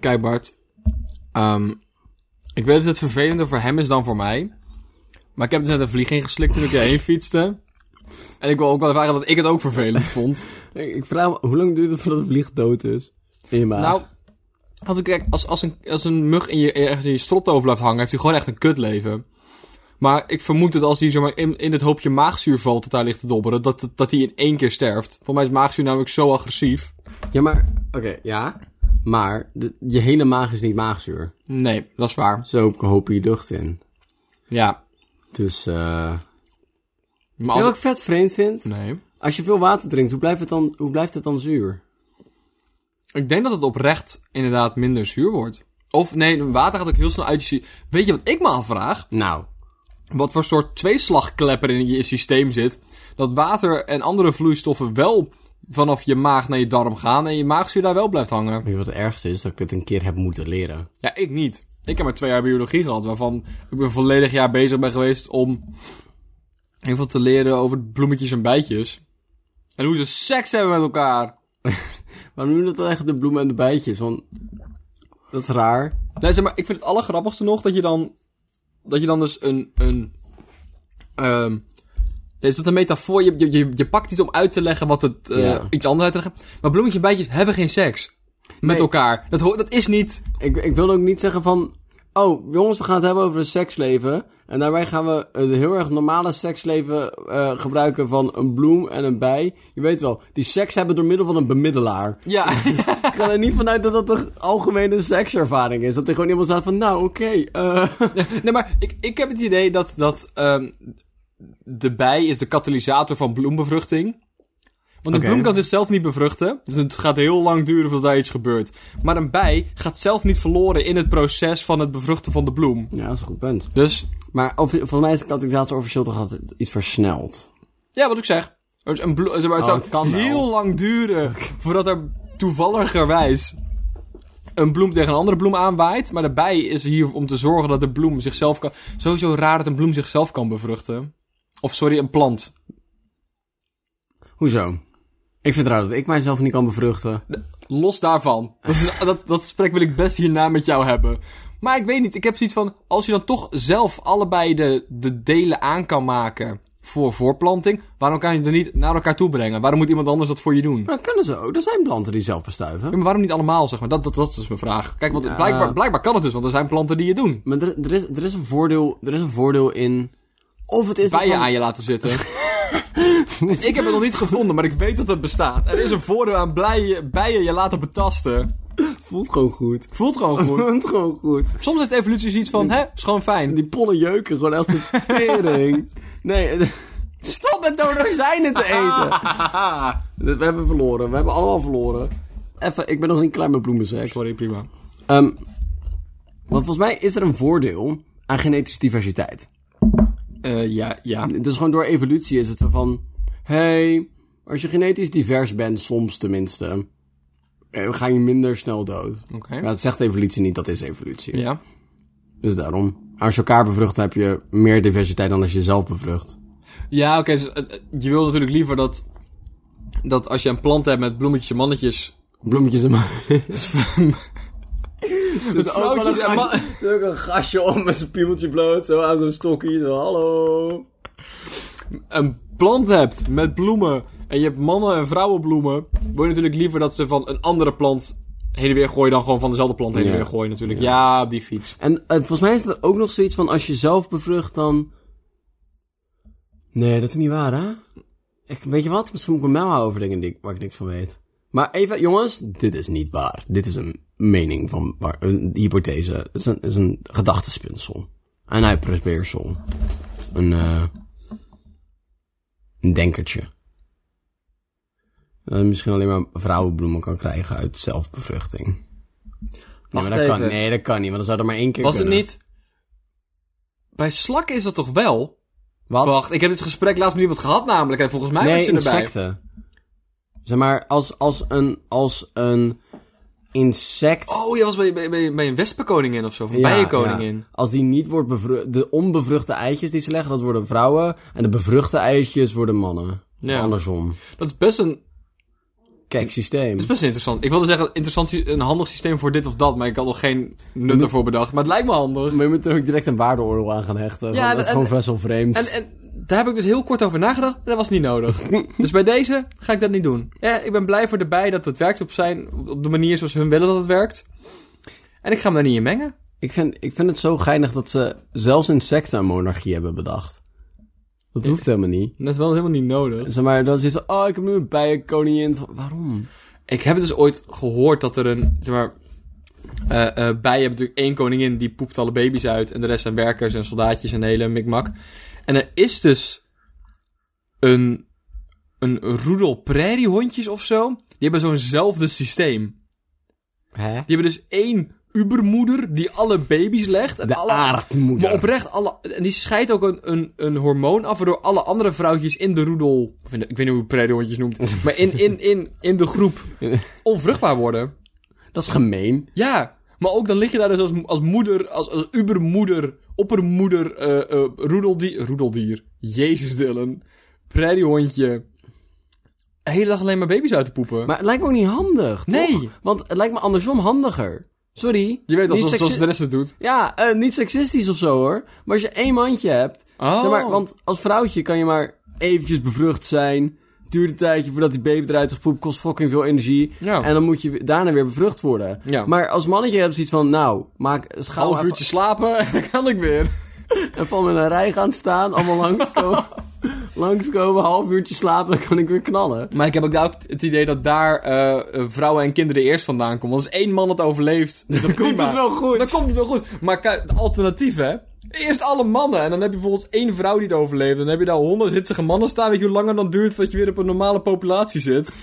kijk Bart. Ehm, ik weet dat het vervelender voor hem is dan voor mij. Maar ik heb dus net een vlieg ingeslikt toen ik erheen fietste. En ik wil ook wel ervaren dat ik het ook vervelend vond. Ik ik vraag me, hoe lang duurt het voordat een vlieg dood is? In je maag. Nou, als, ik, kijk, als, als, een, als een mug in je, ergens in je strot over blijft hangen, heeft hij gewoon echt een kutleven. Maar ik vermoed dat als hij zomaar in, in het hoopje maagzuur valt dat daar ligt te dobberen, dat, dat, dat hij in één keer sterft. Voor mij is maagzuur namelijk zo agressief. Ja, maar... Oké, ja. Maar de- je hele maag is niet maagzuur. Nee, dat is waar. Zo hopen je lucht in. Ja. Dus, eh... Maar als Ja, wat ik vet vreemd vind... Nee. Als je veel water drinkt, hoe blijft het dan, hoe blijft het dan zuur? Ik denk dat het oprecht inderdaad minder zuur wordt. Of nee, water gaat ook heel snel uit je systeem. Weet je wat ik me afvraag? Nou, Wat voor soort tweeslagklepper in je systeem zit. Dat water en andere vloeistoffen wel vanaf je maag naar je darm gaan. En je maagzuur daar wel blijft hangen. weet je wat het ergste is? Dat ik het een keer heb moeten leren. Ja, ik niet. Ik heb maar twee jaar biologie gehad. Waarvan ik een volledig jaar bezig ben geweest om heel veel te leren over bloemetjes en bijtjes. En hoe ze seks hebben met elkaar. Waarom noemen we dat echt de bloemen en de bijtjes? Want dat is raar. Nee, zeg maar, ik vind het allergrappigste nog dat je dan... Dat je dan dus een... een ehm, is dat een metafoor? Je, je, je, je pakt iets om uit te leggen wat het... eh, Ja. Iets anders uit te leggen. Maar bloemetjes en bijtjes hebben geen seks. Met Nee. elkaar. Dat, hoort, dat is niet... Ik, ik wil ook niet zeggen van... Oh, jongens, we gaan het hebben over het seksleven. En daarbij gaan we een heel erg normale seksleven eh, gebruiken van een bloem en een bij. Je weet wel, die seks hebben door middel van een bemiddelaar. Ja, Ik ga er niet vanuit dat dat een algemene sekservaring is. Dat er gewoon iemand staat van, nou, oké. eh. nee, maar ik, ik heb het idee dat, dat ehm, de bij is de katalysator van bloembevruchting. Want een Oké. bloem kan zichzelf niet bevruchten. Dus het gaat heel lang duren voordat daar iets gebeurt. Maar een bij gaat zelf niet verloren in het proces van het bevruchten van de bloem. Ja, dat is een goed punt. Dus Maar of, volgens mij is de katalysator officieel toch altijd iets versneld. Ja, wat ik zeg. Dus een blo- zeg maar, het Oh, zou het kan wel. heel lang duren voordat er toevalligerwijs een bloem tegen een andere bloem aanwaait. Maar daarbij is hier om te zorgen dat de bloem zichzelf kan... Sowieso raar dat een bloem zichzelf kan bevruchten. Of sorry, een plant. Hoezo? Ik vind het raar dat ik mijzelf niet kan bevruchten. Los daarvan. Dat, is- dat, dat gesprek wil ik best hierna met jou hebben. Maar ik weet niet, ik heb zoiets van... Als je dan toch zelf allebei de, de delen aan kan maken voor voorplanting... Waarom kan je het dan niet naar elkaar toe brengen? Waarom moet iemand anders dat voor je doen? Maar dat kunnen ze ook. Er zijn planten die zelf bestuiven. Ja, maar waarom niet allemaal, zeg maar? Dat, dat, dat is dus mijn vraag. Kijk, want Ja. blijkbaar, blijkbaar kan het dus, want er zijn planten die je doen. Maar er, er, is, er, is een voordeel, er is een voordeel in... Of het is... Bijen ervan- aan je laten zitten. ik heb het nog niet gevonden, maar ik weet dat het bestaat. Er is een voordeel aan bijen, bijen je laten betasten. voelt gewoon goed. Voelt gewoon goed. Voelt gewoon goed. Soms heeft evolutie zoiets van, hè, is gewoon fijn. Die pollen jeuken gewoon als de tering. Nee, eh, stop met dozijnen te eten. We hebben verloren. We hebben allemaal verloren. Even, ik ben nog niet klaar met bloemenseks. Sorry, prima. Ehm want volgens mij is er een voordeel aan genetische diversiteit. Eh, ja, ja. Dus gewoon door evolutie is het zo van... hey, als je genetisch divers bent, soms tenminste... eh, ga je minder snel dood. Oké. Maar dat zegt evolutie niet, dat is evolutie. Ja. Dus daarom. Als je elkaar bevrucht, heb je meer diversiteit dan als je zelf bevrucht. Ja, oké. dus, eh, eh, je wil natuurlijk liever dat, dat als je een plant hebt met bloemetjes en mannetjes... Bloemetjes en Met vrouwtjes en mannen... ook een gastje om met zijn piebeltje bloot, zo aan zo'n stokje. Zo, hallo. een plant hebt met bloemen en je hebt mannen- en vrouwenbloemen, wil je natuurlijk liever dat ze van een andere plant heen en weer gooien dan gewoon van dezelfde plant heen en Ja. weer gooien natuurlijk. Ja, op die fiets. En eh, volgens mij is er ook nog zoiets van als je zelf bevrucht dan... Nee, dat is niet waar, hè? Ik, weet je wat? Misschien moet ik me mel houden over dingen die, ik- waar ik niks van weet. Maar even, jongens, dit is niet waar. Dit is een mening van waar, een hypothese. Het is een, het is een gedachtespinsel. Een uitprobeersel. Een, eh, een denkertje. Dat je misschien alleen maar vrouwenbloemen kan krijgen uit zelfbevruchting. Nee, maar dat kan, even. nee, dat kan niet, want dan zou er maar één keer Was het kunnen. niet? Bij slakken is dat toch wel? Wat? Wacht, ik heb dit gesprek laatst met iemand gehad namelijk en volgens mij was nee, je erbij. insecten. Zeg maar, als, als een, als een insect... Oh, jij was bij, bij, bij, bij een wespenkoningin of zo, of een Ja, bijenkoningin. ja. Als die niet wordt bevrucht... De onbevruchte eitjes die ze leggen, dat worden vrouwen. En de bevruchte eitjes worden mannen. Ja. Andersom. Dat is best een Kijk, systeem. Dat is best interessant. Ik wilde zeggen, interessant, sy- een handig systeem voor dit of dat, maar ik had nog geen nut ervoor bedacht. Maar het lijkt me handig. Maar je moet er ook direct een waardeoordeel aan gaan hechten. Ja, want dat is en- gewoon best wel vreemd. En, en daar heb ik dus heel kort over nagedacht en dat was niet nodig. dus bij deze ga ik dat niet doen. Ja, ik ben blij voor erbij dat het werkt op, zijn, op de manier zoals hun willen dat het werkt. En ik ga me daar niet in mengen. ik, vind, ik vind het zo geinig dat ze zelfs insecten een monarchie hebben bedacht. Dat hoeft helemaal niet. Dat is wel helemaal niet nodig. Zeg maar, dan zit ze, oh, ik heb nu een bijenkoningin. Van, Waarom? Ik heb dus ooit gehoord dat er een, zeg maar... eh, eh, bijen hebben natuurlijk één koningin, die poept alle baby's uit. En de rest zijn werkers en soldaatjes en de hele mikmak. En er is dus een, een roedel prairiehondjes of zo. Die hebben zo'nzelfde systeem. Hè? Die hebben dus één ubermoeder die alle baby's legt. En De alle, aardmoeder. Maar oprecht, alle, en die scheidt ook een, een, een hormoon af, waardoor alle andere vrouwtjes in de roedel... Of in de- ik weet niet hoe je prairiehondjes noemt. maar in, in, in, in de groep onvruchtbaar worden. Dat is gemeen. Ja, maar ook dan lig je daar dus als, als moeder, als, als ubermoeder, oppermoeder, eh eh roedeldier, roedeldier, jezus Dylan, prairiehondje, de hele dag alleen maar baby's uit te poepen. Maar het lijkt me ook niet handig, toch? Nee. Want het lijkt me andersom handiger. Sorry. je weet als, Niet als, als seksu- de rest het doet. Ja, eh, niet seksistisch of zo hoor. Maar als je één mandje hebt... Oh. Zeg maar, want als vrouwtje kan je maar eventjes bevrucht zijn. Duurt een tijdje voordat die baby eruit is gepoept. Kost fucking veel energie. Ja. En dan moet je weer- daarna weer bevrucht worden. Ja. Maar als mannetje heb je zoiets van... Nou, maak schaal Half even- uurtje slapen en dan kan ik weer. En van in een rij gaan staan. Allemaal langskomen. langskomen, half uurtje slapen. Dan kan ik weer knallen. Maar ik heb ook daar ook het idee dat daar eh, eh, vrouwen en kinderen eerst vandaan komen. Want als één man het overleeft, is dat Dus prima. Komt het wel goed. Dan komt het wel goed. Maar kijk, het alternatief, hè? Eerst alle mannen. En dan heb je bijvoorbeeld één vrouw die het overleeft. Dan heb je daar honderd hitsige mannen staan. Weet je hoe langer dan duurt voordat je weer op een normale populatie zit?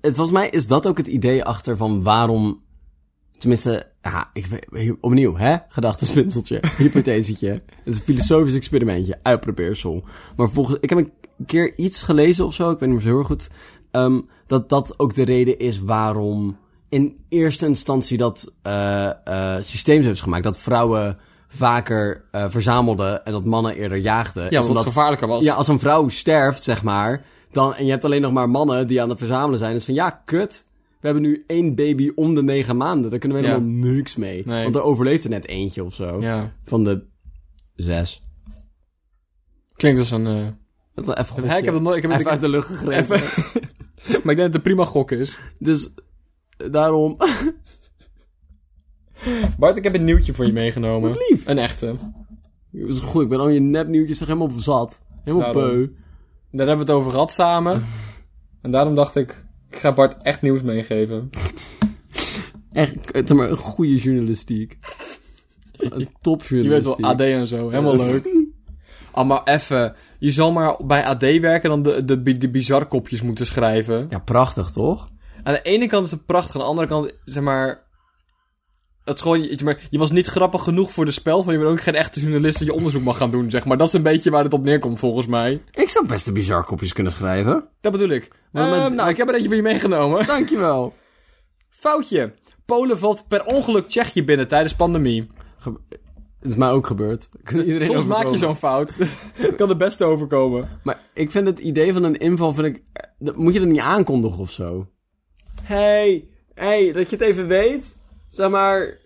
Het, volgens mij is dat ook het idee achter van waarom... Tenminste, ja, ik, weet- opnieuw, hè? Gedachtenspinseltje, hypothesetje. Het is een filosofisch experimentje, uitprobeersel. Maar volgens... Ik heb een keer iets gelezen of zo, ik weet niet meer zo heel erg goed... ehm, dat dat ook de reden is waarom in eerste instantie dat eh, eh, systeem zo is gemaakt. Dat vrouwen vaker eh, verzamelden en dat mannen eerder jaagden. Is Ja, want omdat- het Dus gevaarlijker was. ja, als een vrouw sterft, zeg maar, dan, en je hebt alleen nog maar mannen die aan het verzamelen zijn, is van ja, kut. We hebben nu één baby om de negen maanden. Daar kunnen we Ja. helemaal niks mee. Nee. Want er overleeft er net eentje of zo. Ja. Van de zes. Klinkt als een... eh, Dat is wel even goed. hè, ik heb dat nooit... Ik heb het- even uit de lucht gegrepen. Even- maar ik denk dat het een prima gok is. Dus eh, daarom. Bart, ik heb een nieuwtje voor je meegenomen. Wat lief. Een echte. Dat is goed. Ik ben al je nepnieuwtjes toch helemaal zat. Helemaal Daarom. beu. Daar hebben we het over gehad samen. En daarom dacht ik... Ik ga Bart echt nieuws meegeven. Echt, eh, zeg maar, goede journalistiek. Een Je topjournalistiek. weet wel, AD en zo. Helemaal leuk. Ah, maar even. Je zal maar bij AD werken dan de, de, bi- de bizar kopjes moeten schrijven. Ja, prachtig toch? Aan de ene kant is het prachtig. Aan de andere kant, zeg maar... Het is gewoon, je, maar, je was niet grappig genoeg voor de speld, maar je bent ook geen echte journalist dat je onderzoek mag gaan doen, zeg maar. Dat is een beetje waar het op neerkomt, volgens mij. Ik zou best een bizar kopjes kunnen schrijven. Dat bedoel ik. Maar Ehm, met- nou, ik heb er eentje voor je meegenomen. Dankjewel. Foutje. Polen valt per ongeluk Tsjechië binnen tijdens pandemie. Ge- Het is mij ook gebeurd. Kan iedereen Soms maak je overkomen. zo'n fout. kan het beste overkomen. Maar ik vind het idee van een inval, vind ik... eh, dat- Moet je dat niet aankondigen of zo? Hey, hey, dat je het even weet. Zeg maar,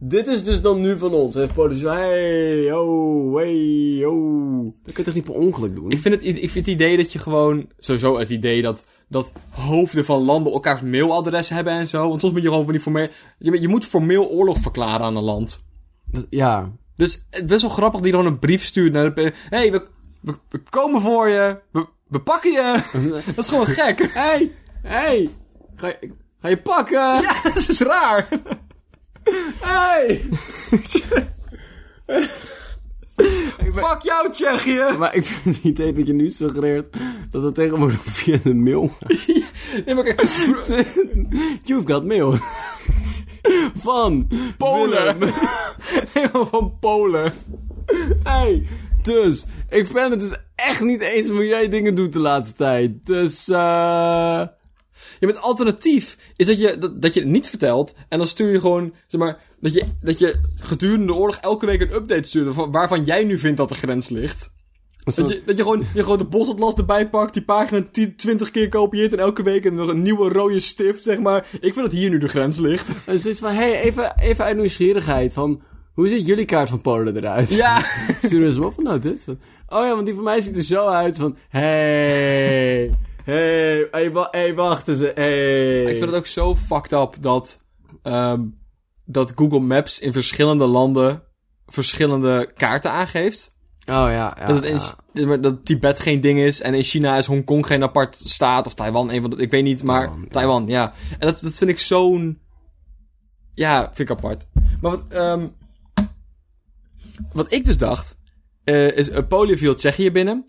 dit is dus dan nu van ons. Heeft politie hey, oh, hey, oh. Dat kun je toch niet per ongeluk doen? Ik vind, het, ik vind het idee dat je gewoon... Sowieso het idee dat, dat hoofden van landen elkaars mailadres hebben en zo. Want soms moet je gewoon van die formeel... Je, moet- je moet formeel oorlog verklaren aan een land. Dat- ja. Dus het is best wel grappig dat je dan een brief stuurt naar de... Hé, hey, we, we, we komen voor je. We, we pakken je. Dat is gewoon gek. hey, hey. Ga je, ga je pakken? Ja, dat is raar. Hey. Fuck jou, Tsjechië. Maar ik vind het idee dat je nu suggereert dat het tegenwoordig via de mail Nee, maar kijk. You've got mail. Van Polen. Willem. Helemaal van Polen. Hey, dus, ik ben het dus echt niet eens hoe jij dingen doet de laatste tijd. Dus, eh... Je bent alternatief. Is dat je, dat, dat je het niet vertelt. En dan stuur je gewoon, zeg maar, dat je, dat je gedurende de oorlog elke week een update stuurt. van- Waarvan jij nu vindt dat de grens ligt. Dat je, dat je gewoon je gewoon de bosatlas erbij pakt, die pagina 10, 20 keer kopieert en elke week nog een nieuwe rode stift, zeg maar. Ik vind dat hier nu de grens ligt. Het is iets van, hey, even, even uit nieuwsgierigheid van... Hoe ziet jullie kaart van Polen eruit? Ja. Sturen ze hem op van, nou dit. Van, oh ja, want die van mij ziet er zo uit van... Hey, hey, hey, wa- hey wacht eens. Hey. Ik vind het ook zo fucked up dat, ehm, dat Google Maps in verschillende landen verschillende kaarten aangeeft. Oh ja, ja, dat, het in, ja. dat- maar dat Tibet geen ding is en in China is Hongkong geen apart staat of Taiwan, een van de, ik weet niet, maar Taiwan, Taiwan, ja. ja. En dat, dat vind ik zo'n, ja, vind ik apart. Maar wat, ehm, wat ik dus dacht, eh, is eh, Polen viel Tsjechië binnen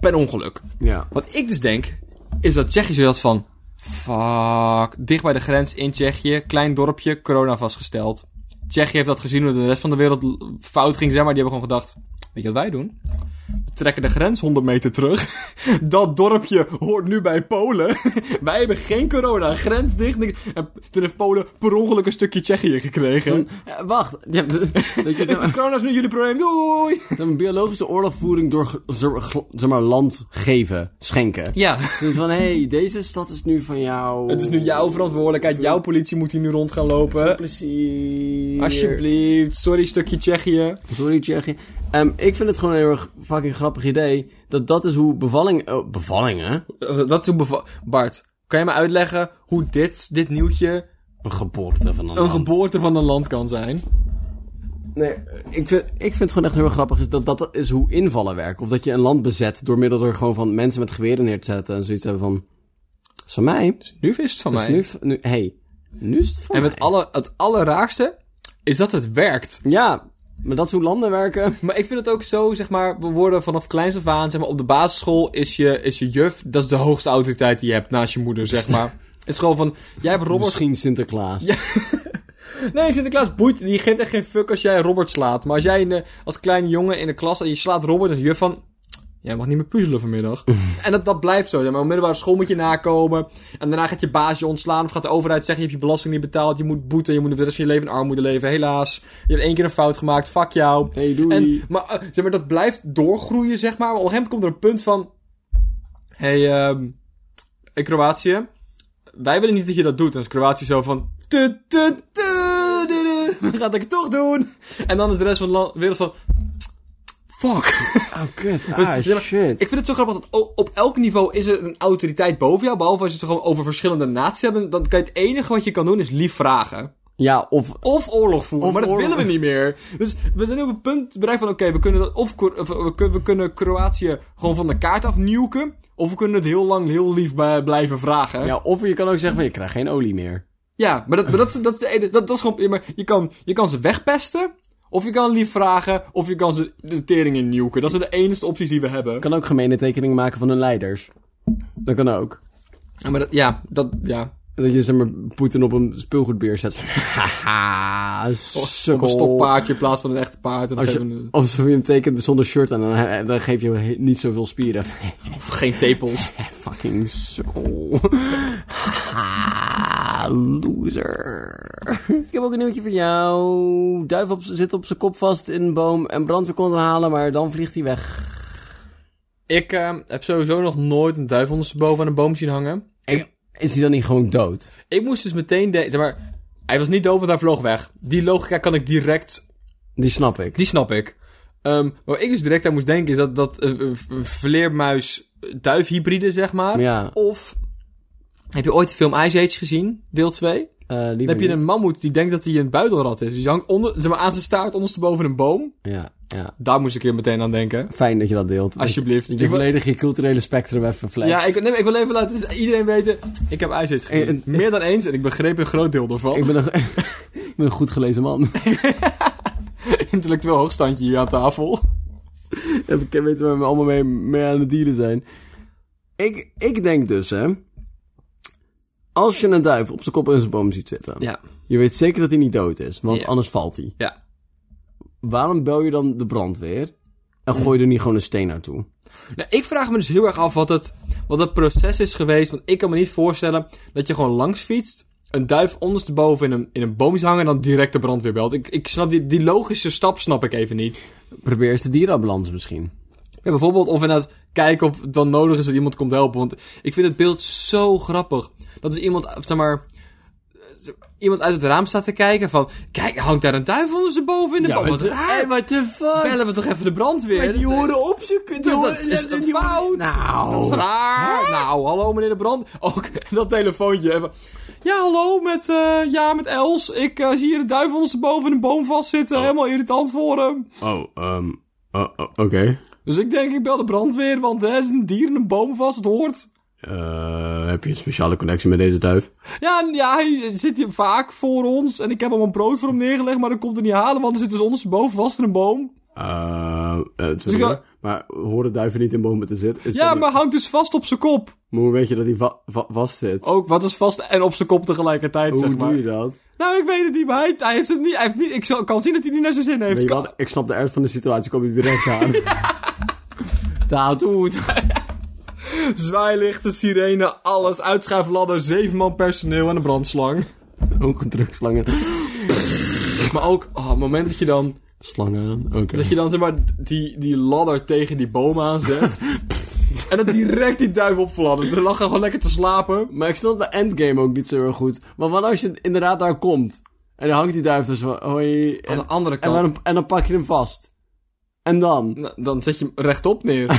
per ongeluk. Ja. Wat ik dus denk, is dat Tsjechië zo dat van... Fuck. Dicht bij de grens in Tsjechië. Klein dorpje, corona vastgesteld. Tsjechië heeft dat gezien hoe de rest van de wereld l- fout ging, zeg maar. Die hebben gewoon gedacht, weet je wat wij doen? We trekken de grens 100 meter terug. Dat dorpje hoort nu bij Polen. Wij hebben geen corona. Grens dicht. niks. En toen heeft Polen per ongeluk een stukje Tsjechië gekregen. Eh, wacht. Ja, dat je, zeg maar, Corona is nu jullie probleem. Doei! een biologische oorlogvoering door ge- zeg maar, zeg maar, land geven, schenken. Ja, Dus van, hey, deze stad is nu van jou. het is nu jouw verantwoordelijkheid. Jouw politie moet hier nu rond gaan lopen. Plezier. Alsjeblieft, sorry stukje Tsjechië. Sorry, Tsjechië. Ehm, ik vind het gewoon een heel erg fucking grappig idee. Dat dat is hoe bevalling... Oh, bevallingen? Eh, Dat toen beva- Bart, kan je me uitleggen hoe dit, dit nieuwtje Een geboorte van een een land. geboorte van een land kan zijn? Nee, ik vind, ik vind het gewoon echt heel erg grappig is dat dat is hoe invallen werken. Of dat je een land bezet door middel er gewoon van mensen met geweren neer te zetten. En zoiets hebben van... "Dat is van mij. Nu is het van Dus mij. nu, nu, hey, nu is het van En mij. het, alle, het allerraarste is dat het werkt. Ja, maar dat is hoe landen werken. Maar ik vind het ook zo, zeg maar, we worden vanaf kleins af aan, zeg maar, op de basisschool is je, is je juf, dat is de hoogste autoriteit die je hebt naast je moeder, zeg maar. Het is gewoon van, jij hebt Robert Misschien Sinterklaas. Nee, Sinterklaas boeit. Die geeft echt geen fuck als jij Robert slaat. Maar als jij in de- als kleine jongen in de klas en je slaat Robert, dan is je juf van. Jij mag niet meer puzzelen vanmiddag. en dat, dat blijft zo. Ja, maar op middelbare school moet je nakomen. En daarna gaat je baas je ontslaan. Of gaat de overheid zeggen: je hebt je belasting niet betaald. Je moet boeten. Je moet de rest van je leven in armoede leven. Helaas. Je hebt één keer een fout gemaakt. Fuck jou. Hey, doei. En, maar, eh, zeg maar dat blijft doorgroeien, zeg maar. Maar op een gegeven moment komt er een punt van... Hé, hey, ehm, eh, Kroatië. Wij willen niet dat je dat doet. En dan is Kroatië zo van... Tu, tu, tu, du, du. We gaan het lekker toch doen. En dan is de rest van de la- wereld van... Fuck. Dus, Oh, kut. Ah, shit. Ik vind het zo grappig dat o- op elk niveau is er een autoriteit boven jou. Behalve als je het gewoon over verschillende naties hebben. Dan kan je het enige wat je kan doen is lief vragen. Ja, of... Of oorlog voeren, Of maar dat oorlog. willen we niet meer. Dus we zijn op het punt bereikt van... Oké, we kunnen dat of, Kro- of we, kunnen, we kunnen Kroatië gewoon van de kaart afnieuwken... of we kunnen het heel lang heel lief bij- blijven vragen. Ja, of je kan ook zeggen van, je krijgt geen olie meer. Ja, maar dat, maar dat, is- dat is de ene... Dat, dat is gewoon... ja, maar je, kan, je kan ze wegpesten... of je kan lief vragen... of je kan ze de tering innieuwken. Dat zijn de enige opties die we hebben. Je kan ook gemene tekeningen maken van hun leiders. Dat kan ook. Ja, maar dat... Ja, dat... Ja. Dat je zeg maar Poetin op een speelgoedbeer zet. van, Haha, Op een sukkel. stokpaardje in plaats van een echte paard. En dan Als geven we je, een- of zo je hem tekent zonder shirt aan, dan, he- dan geef je hem he- niet zoveel spieren. of geen tepels. Fucking sukkel. Haha, Loser. Ik heb ook een nieuwtje voor jou. Duif op, zit op zijn kop vast in een boom en brandweer kon hem halen, maar dan vliegt hij weg. Ik eh, heb sowieso nog nooit een duif ondersteboven aan een boom zien hangen... Is hij dan niet gewoon dood? Ik moest dus meteen denken, zeg maar, hij was niet dood, want hij vloog weg. Die logica kan ik direct, Die snap ik. die snap ik. Ehm, maar waar ik dus direct aan moest denken is dat, dat eh, eh, v- vleermuis-duifhybride, eh, zeg maar. Ja, Of, heb je ooit de film Ice Age gezien, deel 2? eh, liever Dan heb je niet. een mammoet die denkt dat hij een buidelrat is. Dus je hangt onder, zeg maar, aan zijn staart ondersteboven een boom. Ja, ja. Daar moest ik hier meteen aan denken. Fijn dat je dat deelt. Alsjeblieft. Dat Ik je wil- volledig je culturele spectrum even flex. ja, ik, nee, maar ik wil even laten dus iedereen weten, ik heb Ice Age gezien. Eh, eh, Meer dan eens en ik begreep een groot deel daarvan. Ik ben, een, ik ben een goed gelezen man. Intellectueel hoogstandje hier aan tafel. Even ke- weten waar we allemaal mee, mee aan het dealen zijn. Ik, ik denk dus, hè. Als je een duif op zijn kop in zijn boom ziet zitten. Ja, Je weet zeker dat hij niet dood is, want Ja. anders valt hij. ja. Waarom bel je dan de brandweer? En gooi je er niet gewoon een steen naartoe? Nou, ik vraag me dus heel erg af wat het, wat het proces is geweest. Want ik kan me niet voorstellen dat je gewoon langs fietst. Een duif ondersteboven in een, in een boom is hangen en dan direct de brandweer belt. Ik, ik snap die, die logische stap snap ik even niet. Probeer eens de dierenambulance misschien. Ja, bijvoorbeeld, of inderdaad kijken of het dan nodig is dat iemand komt helpen. Want ik vind het beeld zo grappig. Dat is iemand, zeg maar, iemand uit het raam staat te kijken van... Kijk, hangt daar een duif onder zijn boven in de boom? Wat raar. what the fuck? Bellen we toch even de brandweer? Maar die horen opzoeken. Die Dat, horen, dat is die een horen- fout. Nou. Dat is raar. Nou, hallo meneer de Brand. Ook dat telefoontje even. Ja, hallo, met, eh, ja, met Els. Ik eh, zie hier een duif ondersteboven in een boom vastzitten. Helemaal irritant voor hem. Oh, ehm, oh, oh, oké. Dus ik denk, ik bel de brandweer, want er is een dier in een boom vast. Het hoort. Eh, heb je een speciale connectie met deze duif? Ja, en ja, hij zit hier vaak voor ons. En ik heb hem een brood voor hem neergelegd, maar dat komt er niet halen, want hij zit dus ondersteboven vast in een boom. Eh, eh, Dus ik sorry, wel- hoor. maar horen duiven niet in bomen te zitten? Is Ja, dat- maar hangt dus vast op zijn kop. Maar hoe weet je dat hij va- va- vast zit? Ook, wat is vast en op zijn kop tegelijkertijd, hoe Oh, zeg maar. doe je dat? Nou, ik weet het niet, maar hij, hij heeft het niet. Hij heeft niet ik zal- kan zien dat hij niet naar zijn zin heeft. Weet je wat? Ik snap de ernst van de situatie, kom je direct aan. Tattoo. Zwaailichten, sirene, alles. Uitschuifladder, zeven man personeel en een brandslang. Ongedrukt slangen. Maar ook, oh, het moment dat je dan, Slangen, oké. dat je dan zeg maar, die, die ladder tegen die boom aanzet. en dat direct die duif opfladdert. Dan lag hij gewoon lekker te slapen. Maar ik snap de endgame ook niet zo heel goed. Maar wat als je inderdaad daar komt? En dan hangt die duif dus van, hoi. Aan En, de andere en, kant, waarom- en dan pak je hem vast. En dan? nou, dan zet je hem rechtop neer.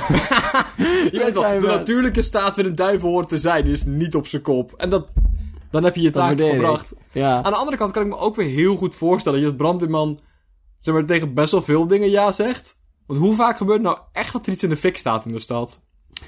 je weet wel, zijn de we. natuurlijke staat waarin een duif hoort te zijn, is niet op zijn kop. En dat, dan heb je je Dat taak waardeer ik. verbracht. Ja. Aan de andere kant kan ik me ook weer heel goed voorstellen dat je als brandweerman zeg maar, tegen best wel veel dingen ja zegt. Want hoe vaak gebeurt het nou echt dat er iets in de fik staat in de stad?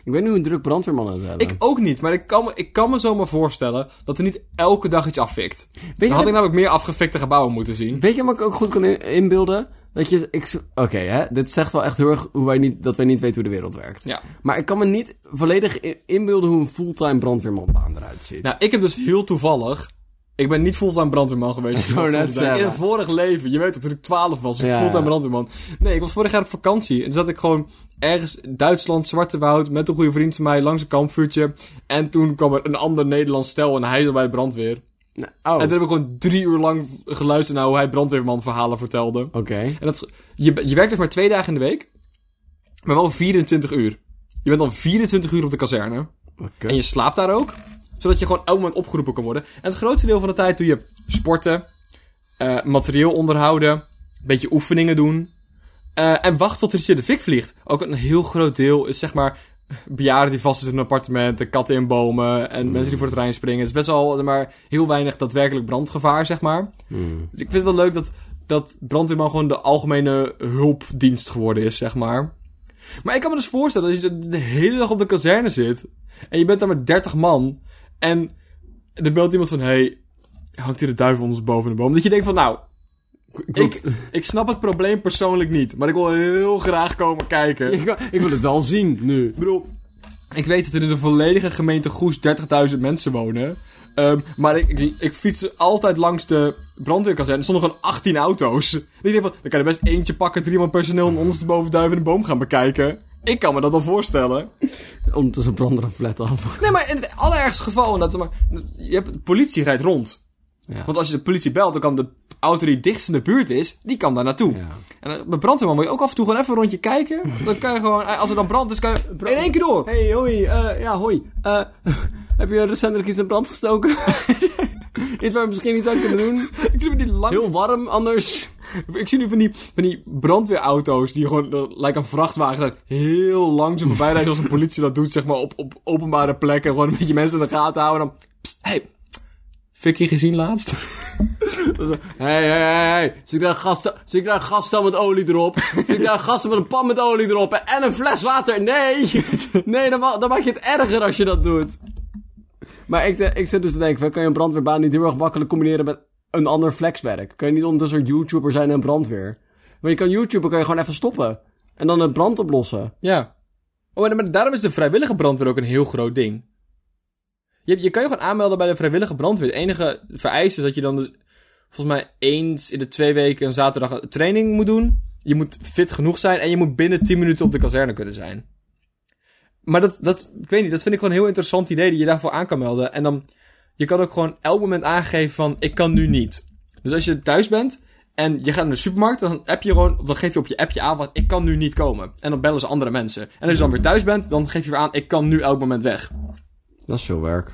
Ik weet niet hoe een druk brandweerman het hebben. Ik ook niet, maar ik kan, me, ik kan me zomaar voorstellen dat er niet elke dag iets affikt. weet, Dan je, had wat- ik namelijk meer afgefikte gebouwen moeten zien. weet je wat ik ook goed kan in- inbeelden? Dat je, ik, oké hè, dit zegt wel echt heel erg hoe wij niet, dat wij niet weten hoe de wereld werkt. Ja. Maar ik kan me niet volledig in- inbeelden hoe een fulltime brandweermanbaan eruit ziet. Nou, ik heb dus heel toevallig... Ik ben niet fulltime brandweerman geweest. wou net zeggen. In een vorig leven. Je weet dat toen ik 12 was. Ik Ja, fulltime ja. brandweerman. Nee, ik was vorig jaar op vakantie. En toen zat ik gewoon ergens Duitsland, Zwarte Woud... met een goede vriend van mij langs een kampvuurtje. En toen kwam er een ander Nederlands stel... en hij zat bij de brandweer. Nou, oh, En oké. toen heb ik gewoon drie uur lang geluisterd... naar hoe hij brandweerman verhalen vertelde. En dat, je, je werkt dus maar twee dagen in de week... maar wel 24 uur. Je bent dan 24 uur op de kazerne... Wat En kut. je slaapt daar ook. Zodat je gewoon elk moment opgeroepen kan worden. En het grootste deel van de tijd doe je sporten. eh, materieel onderhouden. Een beetje oefeningen doen. eh, en wacht tot er iets in de fik vliegt. Ook een heel groot deel is zeg maar... Bejaarden die vastzitten in een appartement. en Katten in bomen. En mensen die voor het terrein springen. Het is best wel zeg maar, heel weinig daadwerkelijk brandgevaar, zeg maar. Hmm. Dus ik vind het wel leuk dat, dat brandweerman gewoon de algemene hulpdienst geworden is, zeg maar. Maar ik kan me dus voorstellen dat je de- de hele dag op de kazerne zit. En je bent daar met 30 man. En er belt iemand van, hey, hangt hier de duivel ons boven de boom? Dat je denkt van, nou, ik, ik snap het probleem persoonlijk niet. Maar ik wil heel graag komen kijken. Ik, ik wil het wel zien nu. Ik bedoel, ik weet dat er in de volledige gemeente Goes 30.000 mensen wonen. Ehm, maar ik, ik, ik fiets altijd langs de brandweerkazerne. Er stonden gewoon 18 auto's. En ik denk van, dan kan je best eentje pakken, drie man personeel... en ondersteboven duiven in een boom gaan bekijken. Ik kan me dat al voorstellen. Ondertussen brandt er een flat af. Nee, maar in het allerergste geval... en Dat er maar, je hebt, de politie rijdt rond. Ja. Want als je de politie belt, dan kan de auto die dichtst in de buurt is... die kan daar naartoe. Ja. En dan- bij brandweerman moet je ook af en toe gewoon even een rondje kijken. Dan kan je gewoon... eh, Als er dan brand is, kan je in één keer door. Hey, hoi. eh, ja, hoi. Eh, heb je recentelijk iets in brand gestoken? iets waar we misschien niet aan kunnen doen? Ik zie me die lange Heel warm, anders. Ik zie nu van die, van die brandweerauto's die gewoon eh, lijkt een vrachtwagen zijn. Heel langzaam voorbij rijden zoals een politie dat doet, zeg maar, op, op openbare plekken. Gewoon een beetje mensen in de gaten houden. Dan, pst, hey, fikkie gezien laatst? Hey, hey, hey, hey. Zit ik daar een gasten, zit ik daar een gasten met olie erop? Zit ik daar een gasten met een pan met olie erop? En een fles water? Nee! Nee, dan, ma- dan maak je het erger als je dat doet. Maar ik, de- ik zit dus te denken, van, kan je een brandweerbaan niet heel erg makkelijk combineren met een ander flexwerk? Kan je niet ondertussen een YouTuber zijn en brandweer? Maar je kan YouTuber kan je gewoon even stoppen. En dan een brand oplossen. Ja. Oh, en maar daarom is de vrijwillige brandweer ook een heel groot ding. Je, je kan je gewoon aanmelden bij de vrijwillige brandweer. Het enige vereiste is dat je dan dus volgens mij eens in de twee weken een zaterdag een training moet doen. Je moet fit genoeg zijn en je moet binnen 10 minuten op de kazerne kunnen zijn. Maar dat, dat, ik weet niet, dat vind ik gewoon een heel interessant idee dat je daarvoor aan kan melden. En dan, je kan ook gewoon elk moment aangeven van, ik kan nu niet. Dus als je thuis bent En je gaat naar de supermarkt, dan, heb je gewoon, dan geef je op je appje aan van ik kan nu niet komen. En dan bellen ze andere mensen. En als je dan weer thuis bent, dan geef je weer aan ik kan nu elk moment weg. Dat is veel werk.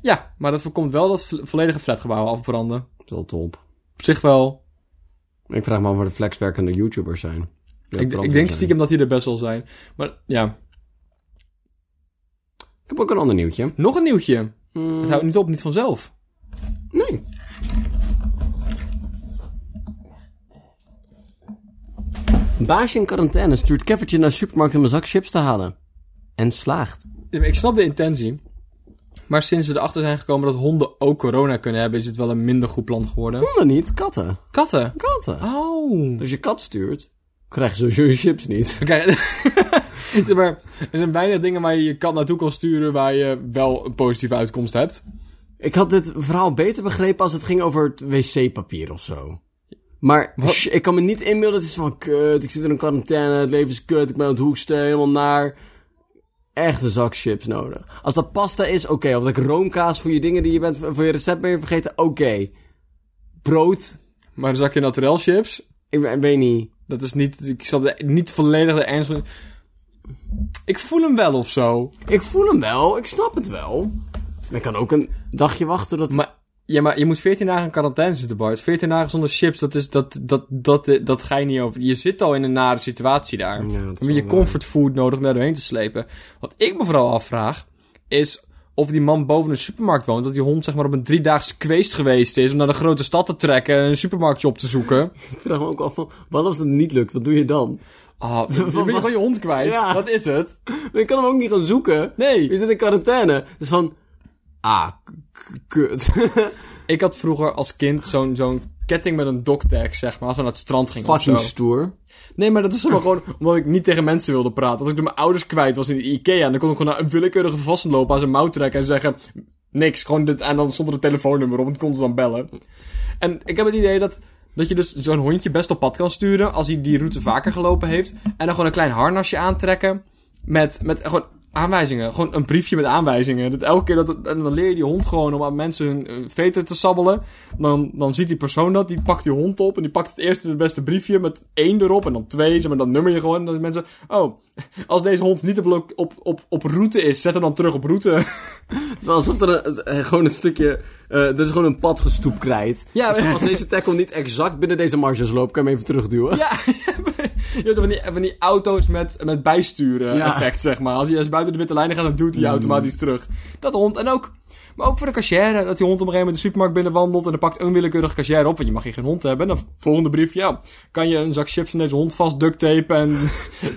Ja, maar dat voorkomt wel dat vo- volledige flatgebouwen afbranden. Dat is wel top. Op zich wel. Ik vraag me af waar de flexwerkende YouTubers zijn. Die ik, ook ik brandweer denk zijn. stiekem dat die er best wel zijn. Maar ja, Ik heb ook een ander nieuwtje. nog een nieuwtje. Mm, Het houdt niet op, niet vanzelf. nee. Baasje in quarantaine stuurt keffertje naar de supermarkt om een zak chips te halen. En slaagt. Ja, maar Ik snap de intentie. Maar sinds we erachter zijn gekomen dat honden ook corona kunnen hebben, is het wel een minder goed plan geworden. Honden niet, katten. Katten. Katten. Oh. Als je kat stuurt, krijg je sowieso je chips niet. Kijk, zeg maar er zijn weinig dingen waar je je kat naartoe kan sturen waar je wel een positieve uitkomst hebt. Ik had dit verhaal beter begrepen als het ging over het wc-papier of zo. Maar sh- ik kan me niet inbeelden dat het is van kut, ik zit in een quarantaine, het leven is kut, ik ben aan het hoekstee, helemaal naar. Echt een zak chips nodig. Als dat pasta is, oké. Of dat ik roomkaas voor je dingen die je bent, voor je recept ben je vergeten, oké. Brood, Maar een zakje naturel chips, ik, ben- ik weet niet. dat is niet, ik snap de, niet volledig de ernst van... Ik voel hem wel of zo. Ik voel hem wel, ik snap het wel. Maar ik kan ook een dagje wachten dat... Maar, ja, maar je moet 14 dagen in quarantaine zitten, Bart. 14 dagen zonder chips, dat, is, dat, dat, dat, eh, dat ga je niet over. Je zit al in een nare situatie daar. Ja, dat is Dan wel heb je waar. comfortfood nodig om daar doorheen te slepen. Wat ik me vooral afvraag, is of die man boven een supermarkt woont. Dat die hond zeg maar op een driedaagse kweest geweest is om naar de grote stad te trekken en een supermarktje op te zoeken. Ik vraag me ook af van, wat als het niet lukt, wat doe je dan? Ah, dan ben je gewoon je hond kwijt. Ja. Dat is het. Maar ik kan hem ook niet gaan zoeken. Nee. Je zit in quarantaine. Dus van, ah, k- k- kut. Ik had vroeger als kind zo'n zo'n ketting met een doktag, zeg maar, als we naar het strand gingen of Fucking zo. stoer. Nee, maar dat is helemaal gewoon omdat ik niet tegen mensen wilde praten. Als ik door mijn ouders kwijt was in de Ikea, dan kon ik gewoon naar een willekeurige vasten lopen aan zijn mouw trekken en zeggen... Niks, gewoon dit, en dan stond er een telefoonnummer op en kon ze dan bellen. En ik heb het idee dat, dat je dus zo'n hondje best op pad kan sturen als hij die route vaker gelopen heeft. En dan gewoon een klein harnasje aantrekken met, met gewoon aanwijzingen. Gewoon een briefje met aanwijzingen. Dat elke keer dat het- en dan leer je die hond gewoon om aan mensen hun eh, veter te sabbelen. Dan, dan ziet die persoon dat, die pakt die hond op en die pakt het eerste het beste briefje met één erop en dan twee. Zeg maar, dan nummer je gewoon en dan zijn mensen... Oh, als deze hond niet op, lo- op, op, op route is, zet hem dan terug op route. Het is wel alsof er een- eh, gewoon een stukje, eh, er is gewoon een pad gestoept krijt. Ja, Dus als deze tackle niet exact binnen deze marges loopt, kan je hem even terugduwen. Ja, je hebt van die, van die auto's met, met bijsturen Ja. effect, zeg maar. Als je, als je buiten de witte lijnen gaat, dan duwt hij je automatisch terug. Dat hond. En ook, maar ook voor de cashier. Dat die hond op een gegeven moment de supermarkt binnenwandelt en dan pakt een willekeurige cashier op. Want je mag hier geen hond hebben. En dan volgende brief, ja. Kan je een zak chips in deze hond vast duct tapen en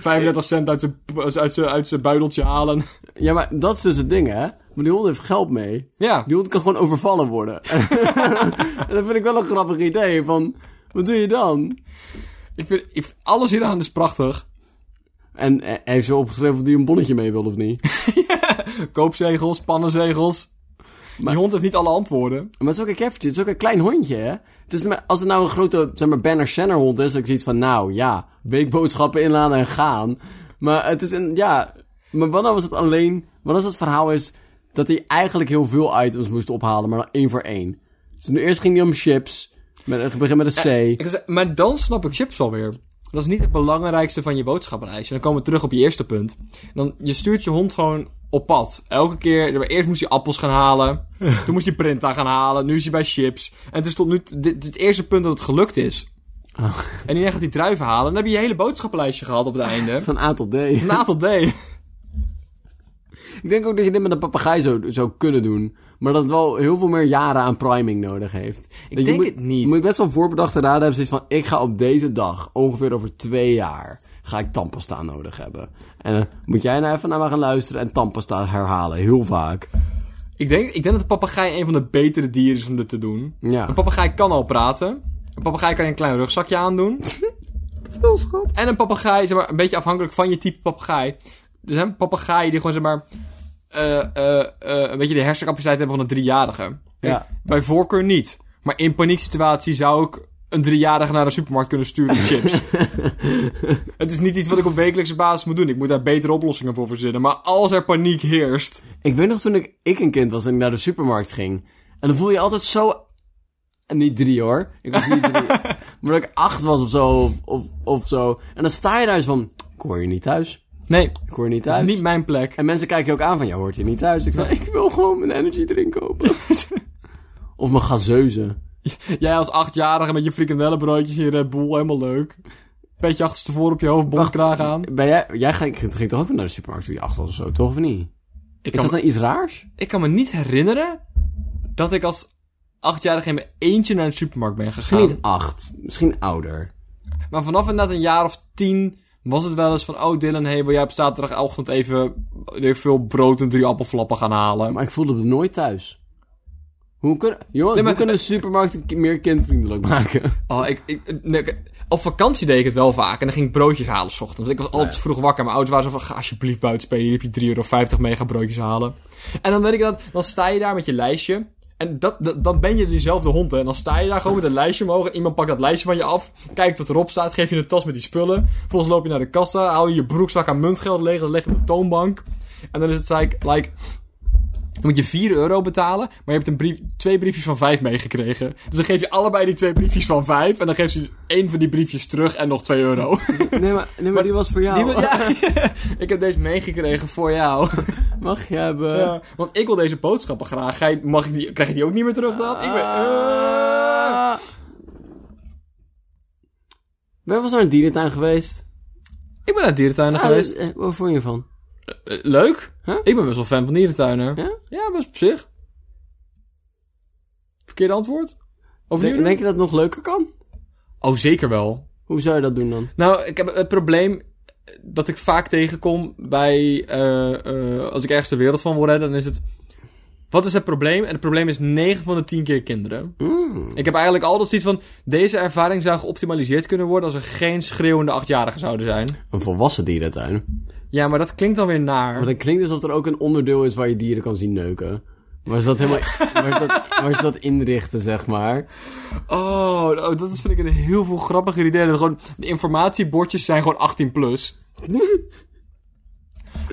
35 cent uit zijn, uit zijn, uit zijn buideltje halen. Ja, maar dat is dus het ding, hè. Maar die hond heeft geld mee. Ja. Die hond kan gewoon overvallen worden. en dat vind ik wel een grappig idee, van, wat doe je dan? Ik vind, ik, alles hieraan is prachtig. En eh, hij heeft zo opgeschreven of hij een bonnetje mee wil of niet. Koopzegels, pannenzegels. die hond heeft niet alle antwoorden. Maar het is ook een keffertje, het is ook een klein hondje, hè? Het is, maar- als het nou een grote, zeg maar, banner Senner hond is, dat ik zoiets van, nou, ja, weekboodschappen inladen en gaan. Maar het is een, ja, maar wanneer was het alleen, wanneer was het verhaal is dat hij eigenlijk heel veel items moest ophalen, maar dan één voor één. Dus nu eerst ging hij om chips, met, ik begin met een C. Ik zou zeggen, maar dan snap ik chips alweer. Dat is niet het belangrijkste van je boodschappenlijstje. Dan komen we terug op je eerste punt. Dan, je stuurt je hond gewoon op pad. Elke keer. maar Eerst moest hij appels gaan halen. toen moest hij Printa gaan halen. Nu is hij bij chips. En het is tot nu dit, dit het eerste punt dat het gelukt is. Ah. En hierna gaat hij druiven halen. Dan heb je je hele boodschappenlijstje gehad op het einde. Van A tot D. Van A tot D. Ik denk ook dat je dit met een papegaai zou, zou kunnen doen. Maar dat het wel heel veel meer jaren aan priming nodig heeft. Ik denk het niet. Je moet best wel voorbedachte raden hebben. Zoiets van, ik ga op deze dag, ongeveer over twee jaar, ga ik tandpasta nodig hebben. En dan moet jij nou even naar me gaan luisteren en tandpasta herhalen. Heel vaak. Ik denk, ik denk dat de papegaai een van de betere dieren is om dit te doen. Ja. Een papegaai kan al praten. Een papegaai kan je een klein rugzakje aandoen. Dat is wel schat. En een papegaai, zeg maar, een beetje afhankelijk van je type papegaai. Er zijn papegaaien die gewoon, zeg maar, eh, eh, eh, een beetje de hersencapaciteit hebben van een driejarige. Ja. Bij voorkeur niet. Maar in panieksituatie zou ik een driejarige naar de supermarkt kunnen sturen met chips. Het is niet iets wat ik op wekelijkse basis moet doen. Ik moet daar betere oplossingen voor verzinnen. Maar als er paniek heerst... Ik weet nog toen ik, ik een kind was en ik naar de supermarkt ging. En dan voel je je altijd zo... en Niet drie hoor. Ik was niet drie. Maar dat ik acht was of zo, of, of, of zo. En dan sta je daar eens van, ik hoor je niet thuis. Nee, Ik hoor je niet dat is thuis. niet mijn plek. En mensen kijken je ook aan van, ja, hoort je niet thuis? Ik van, ik wil gewoon mijn energy drink kopen. of mijn gazeuze. Jij als achtjarige met je frikandellenbroodjes in je Red Bull, helemaal leuk. Beetje achterstevoren op je hoofd, bontkraag aan. Ben jij, jij ging, ging toch ook weer naar de supermarkt toen je acht was of zo, toch of niet? Ik Is kan, dat nou iets raars? ik kan me niet herinneren dat ik als achtjarige in mijn eentje naar de supermarkt ben gegaan. Misschien niet acht, misschien ouder. Maar vanaf inderdaad een jaar of tien was het wel eens van... Oh Dylan, hey, wil jij op zaterdagochtend even weet ik veel brood en drie appelflappen gaan halen? Maar ik voelde me nooit thuis. Hoe kunnen, jongen, maar- hoe kunnen supermarkten ki- meer kindvriendelijk maken? Oh, ik, ik, nee, ik- op vakantie deed ik het wel vaak. En dan ging ik broodjes halen s ochtends. Ik was altijd vroeg wakker. Mijn ouders waren zo van, ga alsjeblieft buiten spelen. Hier heb je 3,50 euro mega broodjes halen. En dan weet ik dat, dan sta je daar met je lijstje. En dat, dat- dan ben je diezelfde hond, hè. En dan sta je daar gewoon met een lijstje omhoog. En iemand pakt dat lijstje van je af. Kijkt wat erop staat. Geef je een tas met die spullen. Vervolgens loop je naar de kassa. Hou je je broekzak aan muntgeld leeg. Dat leg je op de toonbank. En dan is het like, like dan moet je 4 euro betalen, maar je hebt een brief, twee briefjes van 5 meegekregen. Dus dan geef je allebei die twee briefjes van 5 en dan geeft ze dus één van die briefjes terug en nog 2 euro. Nee, maar, nee, maar die was voor jou. Die wil- ja, ik heb deze meegekregen voor jou. Mag je hebben? Ja, want ik wil deze boodschappen graag. Ga je- mag ik die, krijg je die ook niet meer terug dan? Ik ben, eh. Ah. Ben je wel eens naar een dierentuin geweest? ik ben naar dierentuinen Ah, geweest. eh, Wat vond je ervan? Eh, leuk. Huh? Ik ben best wel fan van dierentuinen. Ja? Ja, best op zich. Verkeerde antwoord? Over Denk, denk je dat het nog leuker kan? Oh, zeker wel. Hoe zou je dat doen dan? Nou, ik heb het probleem dat ik vaak tegenkom bij... eh, eh, als ik ergens de wereld van wil redden, dan is het... Wat is het probleem? En het probleem is 9 van de 10 keer kinderen. Ik heb eigenlijk altijd zoiets van... Deze ervaring zou geoptimaliseerd kunnen worden als er geen schreeuwende achtjarigen zouden zijn. Een volwassen dierentuin. Ja, maar dat klinkt dan weer Maar naar. dat klinkt alsof er ook een onderdeel is waar je dieren kan zien neuken. Waar ze dat helemaal... waar, ze dat, waar ze dat inrichten, zeg maar. Oh, oh, dat is, vind ik een heel veel grappiger idee. Dat gewoon, de informatiebordjes zijn gewoon 18 plus.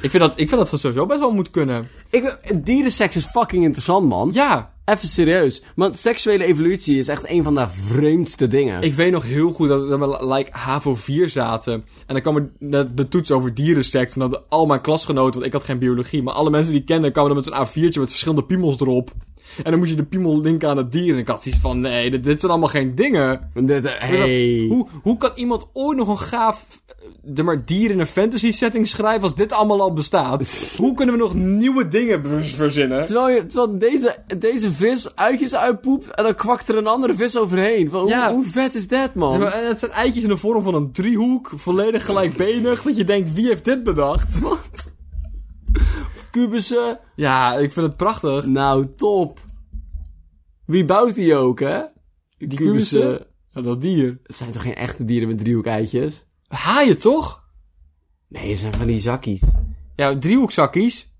ik, vind dat, ik vind dat dat sowieso best wel moet kunnen. Ik, dierenseks is fucking interessant, man. Ja, Even serieus. Want seksuele evolutie is echt een van de vreemdste dingen. Ik weet nog heel goed dat dat we like HAVO 4 zaten. En dan kwam er de, de toets over dierensect. En dan hadden al mijn klasgenoten, want ik had geen biologie. Maar alle mensen die ik kende kwamen dan met een A4'tje met verschillende piemels erop. En dan moest je de piemel linken aan het dier. En ik had zoiets van, nee, dit, dit zijn allemaal geen dingen. Dit- eh, hey. Hoe, hoe kan iemand ooit nog een gaaf eh, de maar dier in een fantasy setting schrijven als dit allemaal al bestaat? hoe kunnen we nog nieuwe dingen ver- verzinnen? Terwijl, je, terwijl deze, deze vis uitjes uitpoept en dan kwakt er een andere vis overheen. Van, hoe, Ja. hoe vet is dat, man? Ja, maar Het zijn eitjes in de vorm van een driehoek, volledig gelijkbenig, dat je denkt, wie heeft dit bedacht? Wat? Kubussen. Ja, ik vind het prachtig. Nou, top. Wie bouwt die ook, hè? Die kubussen? Ja, dat dier. Het zijn toch geen echte dieren met driehoekijtjes? Haaien toch? Nee, het zijn van die zakkies. Ja, driehoekzakkies.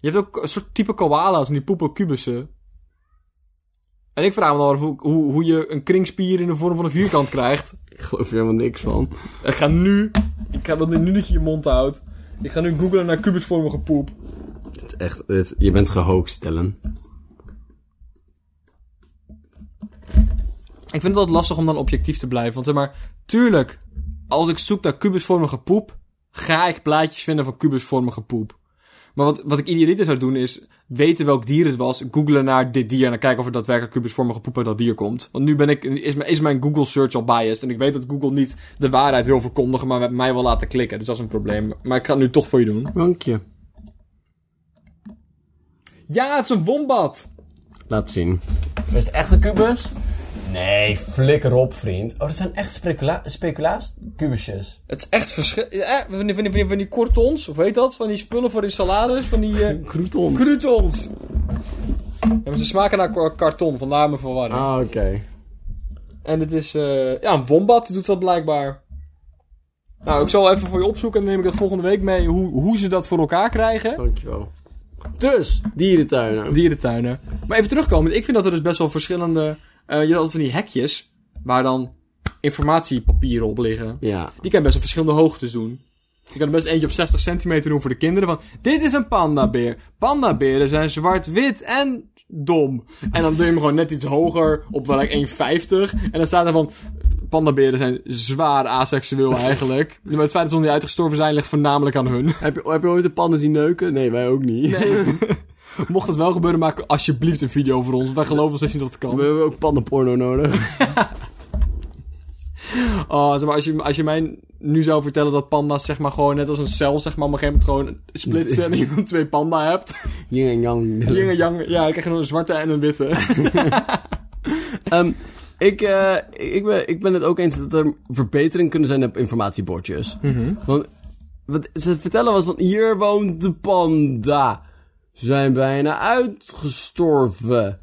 Je hebt ook een soort type koala's en die poepen kubussen. En ik vraag me dan af hoe, hoe, hoe je een kringspier in de vorm van een vierkant krijgt. Ik geloof er helemaal niks van. Ik ga nu... Ik ga dat nu dat je je mond houdt. Ik ga nu googlen naar kubusvormige poep. Het is echt, dit- je bent gehoogst, Dylan. Ik vind het altijd lastig om dan objectief te blijven. Want zeg maar, tuurlijk, als ik zoek naar kubusvormige poep, ga ik plaatjes vinden van kubusvormige poep. Maar wat, wat ik idealiter zou doen is weten welk dier het was, googlen naar dit dier en dan kijken of er daadwerkelijk kubusvormige poep uit dat dier komt. Want nu ben ik, is, mijn- is mijn Google search al biased en ik weet dat Google niet de waarheid wil verkondigen, maar met mij wil laten klikken. Dus dat is een probleem. Maar ik ga het nu toch voor je doen. Dank je. Ja, het is een wombat! Laat zien. Is het echt een kubus? Nee, flikker op, vriend. Oh, dat zijn echt specula speculaas-kubusjes. Het is echt verschil... Eh, van, die, van, die, van die- van die kortons, of weet dat? Van die spullen voor in salades, van die... eh, Croutons. Croutons! Ja, maar ze smaken naar ka- karton, vandaar mijn verwarring. ah, oké. En het is... eh, ja, een wombat doet dat blijkbaar. Nou, ik zal even voor je opzoeken en dan neem ik dat volgende week mee hoe, hoe ze dat voor elkaar krijgen. Dankjewel. Dus, dierentuinen. Dierentuinen. Maar even terugkomen, ik vind dat er dus best wel verschillende... eh, je had altijd van die hekjes, waar dan informatiepapieren op liggen. Ja. Die kan je best op verschillende hoogtes doen. Je kan er best eentje op 60 centimeter doen voor de kinderen. Van, dit is een pandabeer. Pandaberen zijn zwart-wit en dom. En dan doe je hem gewoon net iets hoger, op wel like 1,50. En dan staat er van, pandaberen zijn zwaar aseksueel eigenlijk. Maar het feit dat ze nog niet uitgestorven zijn, ligt voornamelijk aan hun. Heb je, heb je ooit een panda zien neuken? Nee, wij ook niet. Mocht dat wel gebeuren, maak alsjeblieft een video voor ons. want Wij geloven ons dat je dat We kan. hebben ook pandaporno nodig. Oh, zeg maar, als, je, als je mij nu zou vertellen dat panda's zeg maar gewoon net als een cel zeg maar op een gegeven moment gewoon splitsen en je dan twee panda hebt. Yin en yang. Yin en yang. Ja, ik krijg je dan een zwarte en een witte. Ehm, ik, eh, ik, ben, ik ben het ook eens dat er verbetering kunnen zijn op informatiebordjes. Want wat ze vertellen was van hier woont de panda. Ze zijn bijna uitgestorven.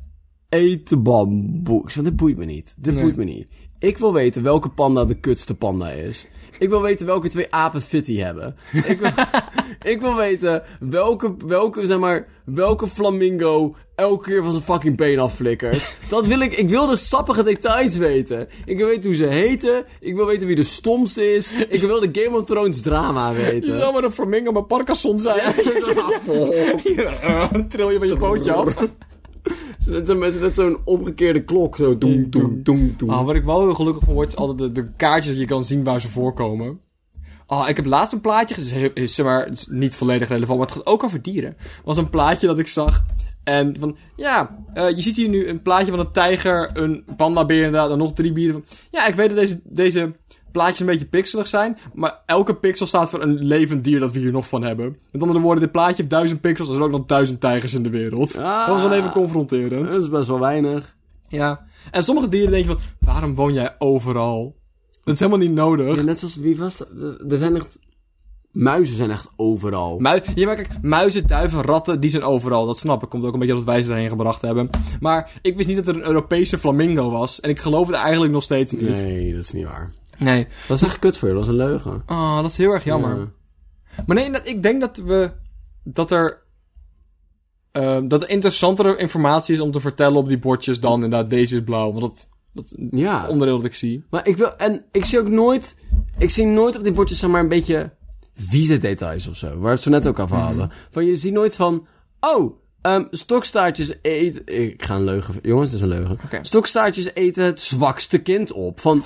Eet de bamboe. Ik zeg, dit boeit me niet. Dit boeit me niet. Ik wil weten welke panda de kutste panda is. Ik wil weten welke twee apen fitty hebben. Ik wil, ik wil weten welke, welke, zeg maar, welke flamingo elke keer van zijn fucking been afflikkert. Dat wil ik. Ik wil de sappige details weten. Ik wil weten hoe ze heten. Ik wil weten wie de stomste is. Ik wil de Game of Thrones drama Je weten. zou maar een flamingo met Parkinson zijn. Ja, dan tril je van je pootje af. Met, met, met zo'n omgekeerde klok. Zo doem, doem, doem, doem. Ah, wat ik wel heel gelukkig van word, is altijd de, de kaartjes die je kan zien waar ze voorkomen. Ah, ik heb laatst een plaatje gezien, heel- is, zeg maar, het is niet volledig relevant, maar het gaat ook over dieren. was een plaatje dat ik zag. En van, ja, eh, je ziet hier nu een plaatje van een tijger, een pandabeer inderdaad, en nog drie bieren. Ja, ik weet dat deze, deze plaatjes een beetje pixelig zijn, maar elke pixel staat voor een levend dier dat we hier nog van hebben. Met andere woorden, dit plaatje heeft duizend pixels, er zijn ook nog duizend tijgers in de wereld. Dat was wel even confronterend. Dat is best wel weinig. Ja. En sommige dieren denk je van, waarom woon jij overal? Dat is helemaal niet nodig. Ja, net zoals wie was dat? Eh, Er zijn echt. Muizen zijn echt overal. Mui ja, maar kijk, muizen, duiven, ratten, die zijn overal. Dat snap ik. Komt ook een beetje dat wij ze erheen gebracht hebben. Maar ik wist niet dat er een Europese flamingo was. En ik geloof het eigenlijk nog steeds niet. Nee, dat is niet waar. Nee. Dat is echt kut voor je, dat is een leugen. Ah, dat is heel erg jammer. Ja. Maar nee, dat, ik denk dat we... Dat er... ehm, dat er interessantere informatie is om te vertellen op die bordjes dan inderdaad deze is blauw. Want dat, dat Ja. onderdeel dat ik zie. Maar ik wil, en ik zie ook nooit, ik zie nooit op die bordjes zeg maar een beetje vieze details of zo. Waar we het zo net ook over hadden. Van je ziet nooit van, oh, ehm, stokstaartjes eet, ik ga een leugen, jongens, dit is een leugen. Oké. Stokstaartjes eten het zwakste kind op. Van,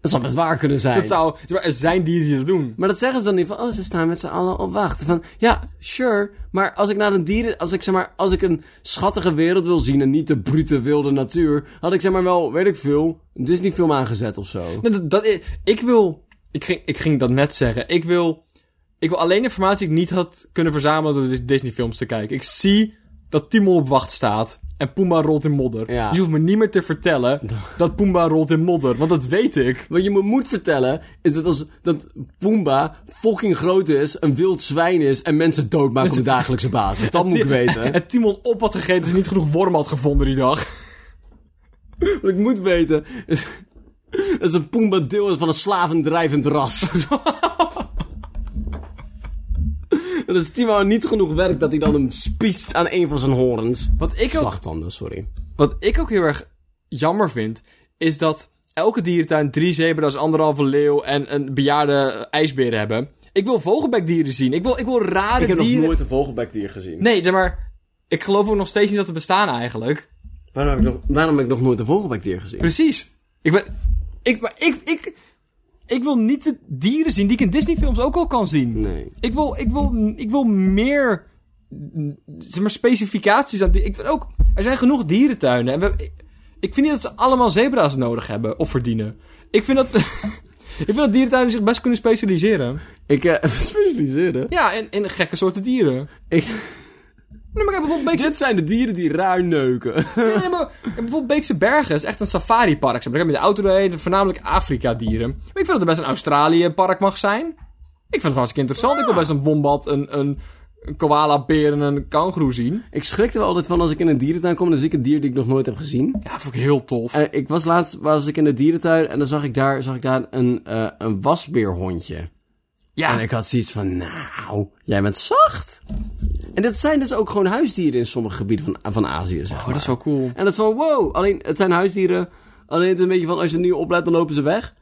dat zou best waar kunnen zijn. Het zou, zeg maar, er zijn dieren die dat doen. Maar dat zeggen ze dan niet van, oh, ze staan met z'n allen op wacht. Van, ja, sure, maar als ik naar een dieren, als ik zeg maar, als ik een schattige wereld wil zien en niet de brute wilde natuur, had ik zeg maar wel, weet ik veel, een Disney-film aangezet of zo. Nee, dat, dat is- ik wil. Ik ging, ik ging dat net zeggen. Ik wil. Ik wil alleen informatie die ik niet had kunnen verzamelen door de Disney-films te kijken. Ik zie dat Timon op wacht staat. En Pumba rolt in modder. Ja. Je hoeft me niet meer te vertellen dat Pumba rolt in modder. Want dat weet ik. Wat je me moet vertellen, is dat als dat Pumba fucking groot is, een wild zwijn is en mensen doodmaakt op dagelijkse basis. Dat moet ik weten. En Timon op had gegeten dus hij niet genoeg worm had gevonden die dag. Wat ik moet weten, is, is dat Pumba deel is van een slavendrijvend ras. En als Timo niet genoeg werkt, dat hij dan hem spiest aan een van zijn horens. Wat ik ook, Slachtanden, sorry. wat ik ook heel erg jammer vind, is dat elke dierentuin drie zebra's, anderhalve leeuw en een bejaarde ijsbeer hebben. Ik wil vogelbekdieren zien. Ik wil, ik wil rare Ik heb dieren. nog nooit een vogelbekdier gezien. Nee, zeg maar. Ik geloof ook nog steeds niet dat ze bestaan eigenlijk. Waarom, heb ik nog, waarom heb ik nog nooit een vogelbekdier gezien? Precies. Ik ben. Ik, maar ik, ik, ik wil niet de dieren zien die ik in Disney-films ook al kan zien. Nee. Ik, wil, ik, wil, ik wil meer. Zeg maar specificaties aan die. Ik vind ook. Er zijn genoeg dierentuinen. En we, ik, ik vind niet dat ze allemaal zebra's nodig hebben of verdienen. Ik vind dat. ik vind dat dierentuinen zich best kunnen specialiseren. Ik eh specialiseren. Ja, in, in gekke soorten dieren. Dus- Ik, Nee, maar ik heb bijvoorbeeld beekse dit zijn de dieren die raar neuken. Nee, nee, maar bijvoorbeeld Beekse Bergen is echt een safaripark. Zeg maar. Ik heb met de auto doorheen, voornamelijk Afrika-dieren. Maar ik vind dat er best een Australië-park mag zijn. Ik vind het hartstikke interessant. Ik wil best een wombat, een, een, een koala-beer en een kangoeroe zien. Ik schrik er wel altijd van als ik in een dierentuin kom en dan zie ik een dier die ik nog nooit heb gezien. Ja, dat vond ik heel tof. En ik was laatst was ik in de dierentuin en dan zag ik daar, zag ik daar een, eh, een wasbeerhondje. ja, En ik had zoiets van, nou, jij bent zacht. En dat zijn dus ook gewoon huisdieren in sommige gebieden van, van Azië, zeg oh, maar. dat is wel cool. En dat is van, wow, alleen het zijn huisdieren. Alleen het is een beetje van, als je er nu oplet, dan lopen ze weg.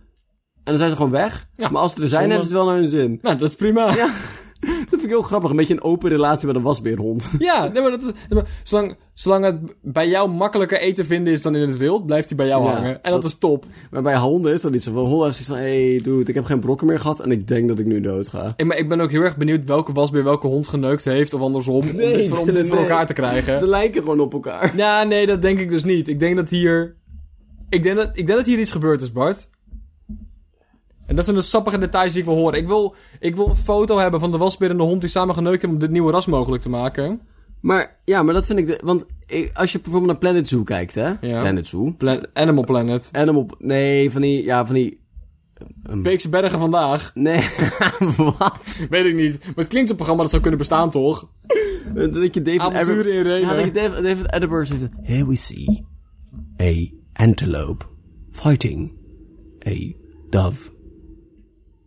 En dan zijn ze gewoon weg. Ja, maar als ze er zijn, zonde. hebben ze het wel naar hun zin. Nou, dat is prima. Ja, dat vind ik vind ik heel grappig. Een beetje een open relatie met een wasbeerhond. Ja, nee, maar dat is, nee, maar zolang, zolang het bij jou makkelijker eten vinden is dan in het wild, blijft hij bij jou Ja, hangen. En dat, dat- is top. Maar bij honden is dat niet zo. Van honden is het van, hé, hey, dude, ik heb geen brokken meer gehad en ik denk dat ik nu dood ga. Ik, maar ik ben ook heel erg benieuwd welke wasbeer welke hond geneukt heeft of andersom. om Nee, dit, voor, om dit voor nee. elkaar te Ze krijgen. lijken gewoon op elkaar. Ja, nee, dat denk ik dus niet. Ik denk dat hier. Ik denk dat, ik denk dat hier iets gebeurd is, Bart. En dat zijn de sappige details die ik wil horen. Ik wil, ik wil een foto hebben van de wasbeer en de hond die samen geneukt hebben om dit nieuwe ras mogelijk te maken. Maar ja, maar dat vind ik. De, want eh, als je bijvoorbeeld naar Planet Zoo kijkt, hè? Planet Zoo. Plan- Animal Planet. Animal. Nee, van die. Ja, van die. Beekse Bergen vandaag. Nee, wat? Weet ik niet. Maar het klinkt een programma dat zou kunnen bestaan, toch? Dat je David Avonturen in Renen. Ja, dat je David, David Attenborough zegt. Here we see a antelope fighting a dove.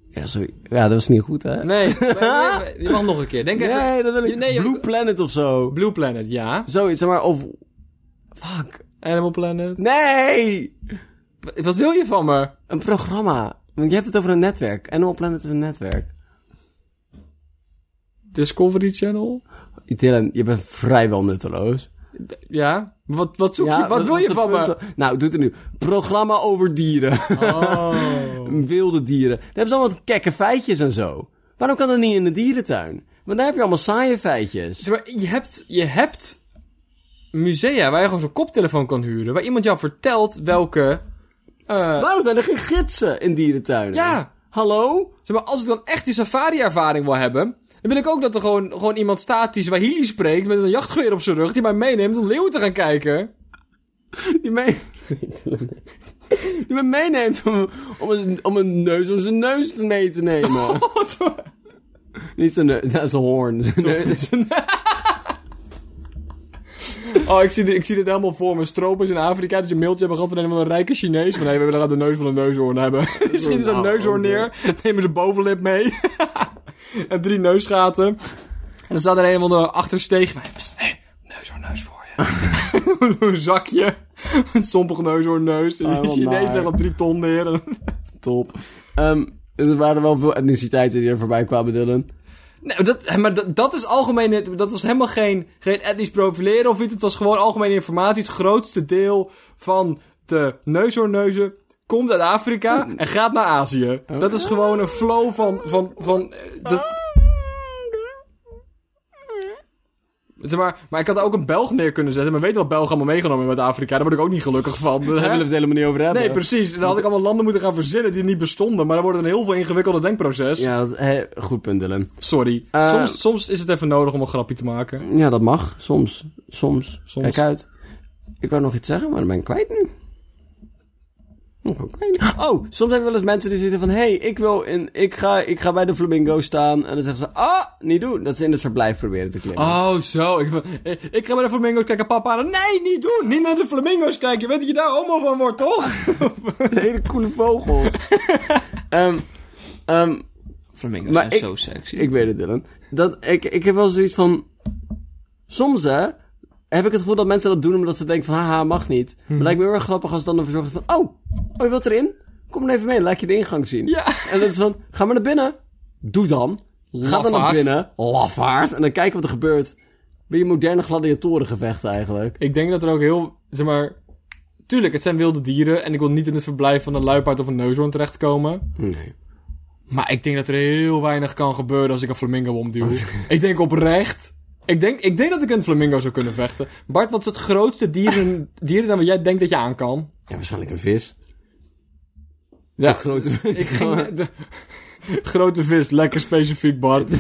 Ja, sorry. Ja, dat was niet goed, hè? Nee, maar- maar- maar- je mag nog een keer. Denk Nee, even. dat wil ik. Nee, je- Blue Planet of zo. Blue Planet, ja. Zoiets, zeg maar. Of. Fuck. Animal Planet. Nee! W- Wat wil je van me? Een programma. Want je hebt het over een netwerk. Animal Planet is een netwerk. Discovery Channel? Dylan, je bent vrijwel nutteloos. Ja. Wat, wat zoek je? Wat, dat wil was je de van me? punt- Nou, doe het nu. Programma over dieren. Oh. Wilde dieren. Daar hebben ze allemaal kekke feitjes en zo. Waarom kan dat niet in de dierentuin? Want daar heb je allemaal saaie feitjes. Zeg maar, je hebt, je hebt musea waar je gewoon zo'n koptelefoon kan huren. Waar iemand jou vertelt welke... eh, Waarom zijn er geen gidsen in dierentuinen? Ja. Hallo? zeg maar, als ik dan echt die safari-ervaring wil hebben... Dan wil ik ook dat er gewoon, gewoon iemand staat die Swahili spreekt... met een jachtgeweer op zijn rug die mij meeneemt om leeuwen te gaan kijken. Die mee... Die me meeneemt om, om, een, om een neus, om zijn neus mee te nemen. Oh, Wat? Niet zijn neus, dat is een hoorn. Zijn neus- Oh, ik zie, dit- ik zie dit helemaal voor me. Stropers in Afrika, dat je een mailtje hebben gehad van een, van een rijke Chinees. Van, hé, we willen graag de neus van een neushoorn hebben. Die schieten zo'n Nou, neushoorn oké. neer, nemen zijn bovenlip mee. en drie neusgaten. En dan staat er een of andere achtersteeg. Hé, hey, neushoorn, neus voor je. een zakje. Een sompig neushoorn, neus. En Oh, die wat Chinees naar. legt op drie ton neer. Top. Ehm, er waren wel veel etniciteiten die er voorbij kwamen, Dylan. Nee, maar dat, maar dat, dat is algemeen. het- Dat was helemaal geen, geen etnisch profileren of iets. Het was gewoon algemene informatie. Het grootste deel van de neushoornneuzen komt uit Afrika en gaat naar Azië. Dat is gewoon een flow van. van, van eh, dat... Zeg maar, maar ik had er ook een Belg neer kunnen zetten. Maar weet je wat Belgen allemaal meegenomen hebben uit Afrika? Daar word ik ook niet gelukkig van. Daar hè? willen we het helemaal niet over hebben. Nee, precies. Dan had ik allemaal landen moeten gaan verzinnen die niet bestonden. Maar dan wordt het een heel veel ingewikkelde denkproces. Ja, dat, hè, goed punt, Dylan. Sorry. Eh, soms, soms is het even nodig om een grapje te maken. Ja, dat mag. Soms. Soms. Soms. Kijk uit. Ik wou nog iets zeggen, maar dan ben ik kwijt nu. Ik ben kwijt. Oh, soms heb ik wel eens mensen die zitten van... Hé, hey, ik, wil in- ik, ga, ik ga bij de flamingo staan. En dan zeggen ze... Ah, niet doen. Dat ze in het verblijf proberen te klimmen. Oh, zo. Ik, ik- ik ga bij de flamingo's kijken. Papa aan. Nee, niet doen. Niet naar de flamingo's kijken. Je weet dat je daar homo van wordt, toch? Hele coole vogels. Ehm ehm, Flamingo's Maar zijn ik- zo sexy. Ik weet het, Dylan. Dat, ik, ik heb wel zoiets van... Soms, hè, heb ik het gevoel dat mensen dat doen omdat ze denken van... Haha, mag niet. Maar Mhm. het lijkt me heel erg grappig als dan een verzorger van... Oh, oh, je wilt erin? Kom dan even mee, laat je de ingang zien. Ja. En dat is van, ga maar naar binnen. Doe dan. Ga dan naar Lafaard. binnen. Lafaard. En dan kijken wat er gebeurt. Bij je moderne gladiatorengevecht eigenlijk. ik denk dat er ook heel, zeg maar... Tuurlijk, het zijn wilde dieren. En ik wil niet in het verblijf van een luipaard of een neushoorn terechtkomen. Nee. Maar ik denk dat er heel weinig kan gebeuren als ik een flamingo omduw. ik denk oprecht... Ik denk, ik denk dat ik een flamingo zou kunnen vechten. Bart, wat is het grootste dier, dier dan wat jij denkt dat je aan kan? Ja, waarschijnlijk een vis. Ja, Een grote Ik ging... de- Grote vis, lekker specifiek, Bart.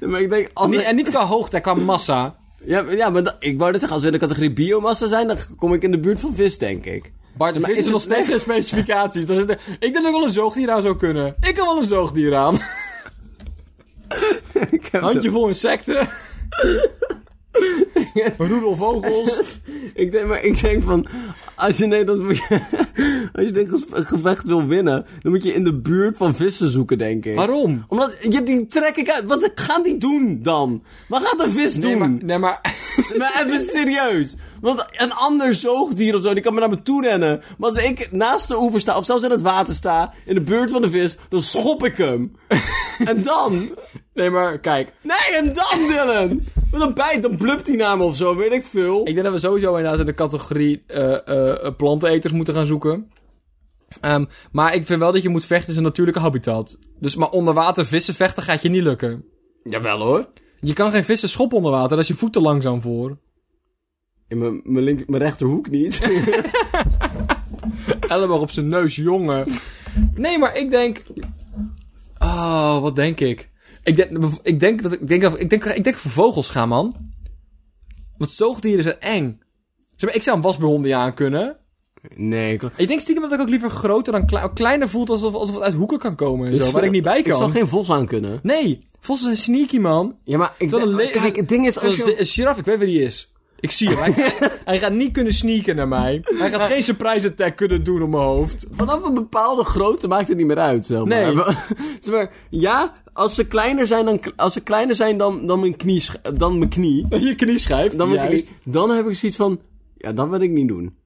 Maar ik denk, als Niet- en niet qua hoogte, qua massa. Ja, maar- ja maar dat- ik wou net zeggen, als we in de categorie biomassa zijn, dan kom ik in de buurt van vis, denk ik. Bart, maar is vis er is- nog steeds geen specificaties? Dat is de- ik denk dat ik wel een zoogdier aan zou kunnen. Ik kan wel een zoogdier aan. Ik heb Handje vol insecten. Roedelvogels. Ik denk, maar ik denk van, als je Nederlands moet je- als je dit ges- gevecht wil winnen, dan moet je in de buurt van vissen zoeken, denk ik. Waarom? Omdat, je, die trek ik uit. Wat gaan die doen dan? Wat gaat een vis Nee, doen? maar... Maar, Nee, maar even serieus. Want een ander zoogdier of zo, die kan me naar me toe rennen. Maar als ik naast de oever sta, of zelfs in het water sta, in de buurt van de vis, dan schop ik hem. en dan? Nee, maar kijk. Nee, en dan Dylan! Wat een bijt, dan blupt die naam of zo, weet ik veel. Ik denk dat we sowieso inderdaad in de categorie eh, eh, eh, planteneters moeten gaan zoeken. Ehm, maar ik vind wel dat je moet vechten in zijn natuurlijke habitat. Dus maar onder water vissen vechten gaat je niet lukken. Jawel hoor. Je kan geen vissen schoppen onder water, daar is je voeten langzaam voor. In mijn- mijn link- mijn rechterhoek niet. Elleboog op zijn neus, jongen. Nee, maar ik denk... Oh, wat denk ik? Ik denk, ik denk dat ik... ik Denk, dat- ik, denk, ik denk voor vogels gaan, man. Want zoogdieren zijn eng. Zeg maar, ik zou een wasbeer niet aan kunnen. nee, klopt. Ik denk stiekem dat ik ook liever groter dan klei- kleiner voelt alsof, alsof het uit hoeken kan komen en zo, waar ik niet bij Ik zou kan. Dus geen vos aan kunnen. Nee, vossen zijn sneaky, man. Ja, maar ik Terwijl een denk- le- Kijk, het ding is, als Zoals je... een giraf, ik weet waar die is. Ik zie hem. Hij, hij gaat niet kunnen sneaken naar mij. Hij gaat geen surprise attack kunnen doen op mijn hoofd. Vanaf een bepaalde grootte maakt het niet meer uit, zeg maar. Nee. zeg maar, ja, als ze kleiner zijn dan, als ze kleiner zijn dan, dan mijn knie, sch- dan mijn knie, Je knieschijf. dan, mijn juist. knie, dan heb ik zoiets van, ja, dat wil ik niet doen.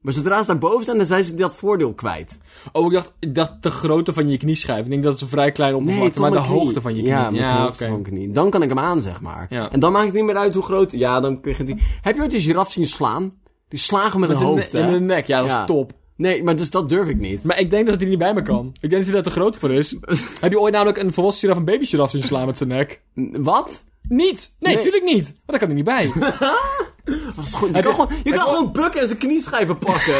Maar zodra ze daar boven zijn, dan zijn ze dat voordeel kwijt. Oh, ik dacht, ik dacht de grootte van je knieschijf. Ik denk dat is een vrij klein oppervlakte, tot maar de mijn knie. hoogte van je knie. Ja, ja de ja hoogte oké. van mijn knie. Dan kan ik hem aan, zeg maar. Ja. En dan maakt het niet meer uit hoe groot... Ja, dan begint hij... Heb je ooit een giraf zien slaan? Die slagen met, Met een zijn hoofd, ne- hè? in hun nek, ja, dat Ja. is top. Nee, maar dus dat durf ik niet. Maar ik denk dat hij niet bij me kan. Ik denk dat hij daar te groot voor is. Heb je ooit namelijk een volwassen giraf een baby giraf zien slaan met zijn nek? N- Wat? Niet! Nee, Nee. tuurlijk niet! Want daar kan hij niet bij. Dat is goed. Je Heb kan, je- gewoon, je heb kan je- gewoon bukken en zijn knieschijven pakken.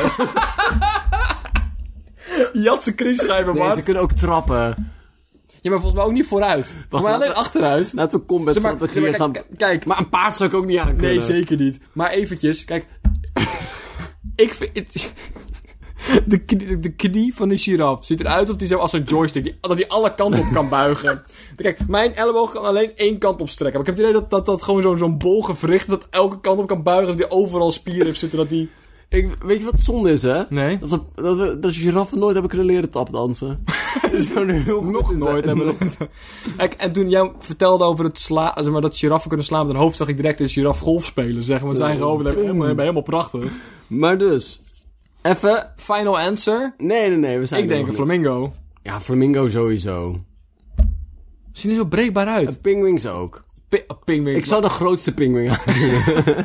Jat zijn knieschijven, nee, maat. ze kunnen ook trappen. Ja, maar volgens mij ook niet vooruit. Volgens mij laat- alleen achteruit. Laten we combat Zeg maar, strategieën zeg maar, gaan... kijk- kijk. Maar een paard zou ik ook niet aan kunnen. Nee, zeker niet. Maar eventjes, kijk. ik vind... het- De knie, de knie van de giraf ziet eruit of die zo als een joystick. Die, dat hij alle kanten op kan buigen. Kijk, mijn elleboog kan alleen één kant op strekken. Maar ik heb het idee dat dat, dat gewoon zo'n zo'n bol gewricht is. Dat elke kant op kan buigen. Dat die overal spieren heeft zitten. Dat die... Ik, weet je wat zonde is, hè? Nee. Dat, we, dat, we, dat giraffen nooit hebben kunnen leren tapdansen. dat zou nu heel goed Nog zijn. nooit hebben we dat- Kijk, En toen jij vertelde over het sla, zeg maar, dat giraffen kunnen slaan met een hoofd, zag ik direct een giraf golf spelen, zeg maar. Met zijn eigen hoofd. Dat is helemaal, helemaal prachtig. Maar dus... Even Final answer? Nee, nee, nee, we zijn ik er denk een nog flamingo. niet. Ja, flamingo sowieso. Zien er zo breekbaar uit. Pingwings ook. Pi- oh, pinguïn. Ik zou de grootste pingwing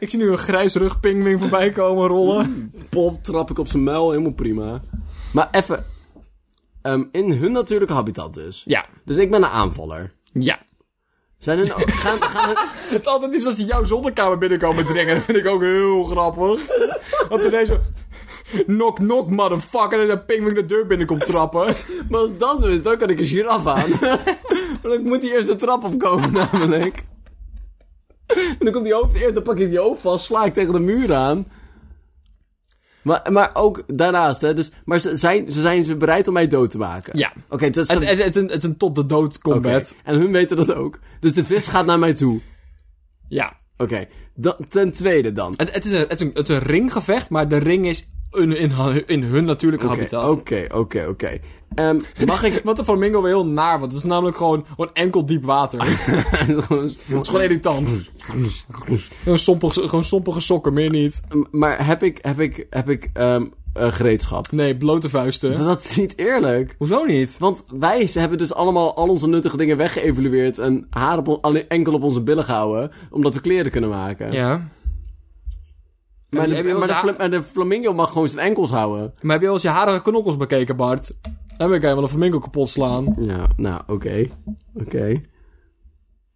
Ik zie nu een grijsrug pingwing voorbij komen rollen. Pop, trap ik op zijn muil, helemaal prima. Maar even... ehm, in hun natuurlijke habitat dus. Ja. Dus ik ben een aanvaller. Ja. Zijn hun ook... Gaan, gaan, Het altijd is als ze jouw zonnekamer binnenkomen dringen. Dat vind ik ook heel grappig. Want ineens zo... Knock, knock, motherfucker. En een pingwing de deur binnenkomt trappen. maar als dat zo is, dan kan ik een giraf aan. maar dan moet hij eerst de trap opkomen namelijk. En dan komt die hoofd eerst, dan pak ik die hoofd vast, sla ik tegen de muur aan. Maar, maar ook daarnaast, hè. Dus, maar ze zijn, ze zijn ze bereid om mij dood te maken. Ja. Oké, dat is Het, het, het, een- het een tot de dood Oké, combat. En hun weten dat ook. Dus de vis gaat naar mij toe. Ja. Oké. dan- Ten tweede dan. Het, het, is een, het, is een, het is een ringgevecht, maar de ring is in, in, in hun natuurlijke Oké, habitat. Oké, oké, oké. Ehm, Mag ik... Wat de flamingo weer heel naar, want het is namelijk gewoon, gewoon enkel diep water. Het is gewoon irritant. ah, Gewoon sompige, gewoon sompige sokken, meer niet. Ehm, maar heb ik, heb ik, heb ik ehm, eh, gereedschap? Nee, blote vuisten. Dat is niet eerlijk. Hoezo niet? Want wij hebben dus allemaal al onze nuttige dingen weggeëvalueerd en haar op, on- alleen enkel op onze billen gehouden, omdat we kleren kunnen maken. Ja. Maar, de, Heb je wel maar de eens fla- haar- maar de flamingo mag gewoon zijn enkels houden. Maar heb je wel eens je harige knokkels bekeken, Bart? Dan ben ik helemaal een flamingo kapot slaan. Ja, nou, oké. Oké.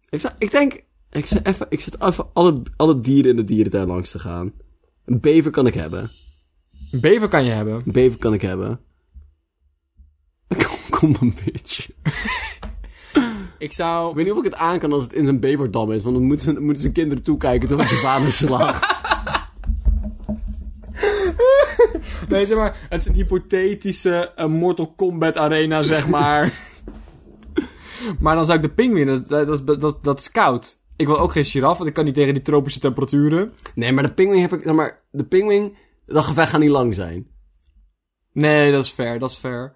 Ik, zou- ik denk... Ik zit even, ik zit even alle, alle dieren in de dierentuin langs te gaan. Een bever kan ik hebben. Een bever kan je hebben. Een bever kan ik hebben. Kom, kom een bitch. Ik Ik zou... weet niet of ik het aan kan als het in zijn beverdam is. Want dan moeten ze, dan moeten ze kinderen toekijken terwijl ze vader slaagt. Nee, zeg maar, het is een hypothetische eh, Mortal Kombat arena, zeg maar. maar dan zou ik de pinguïn, dat, dat, is- dat, dat is koud. Ik wil ook geen giraf, want ik kan niet tegen die tropische temperaturen. Nee, maar de pinguïn heb ik... Zeg maar, de pinguïn... Dat gevecht gaat niet lang zijn. Nee, dat is fair, dat is fair.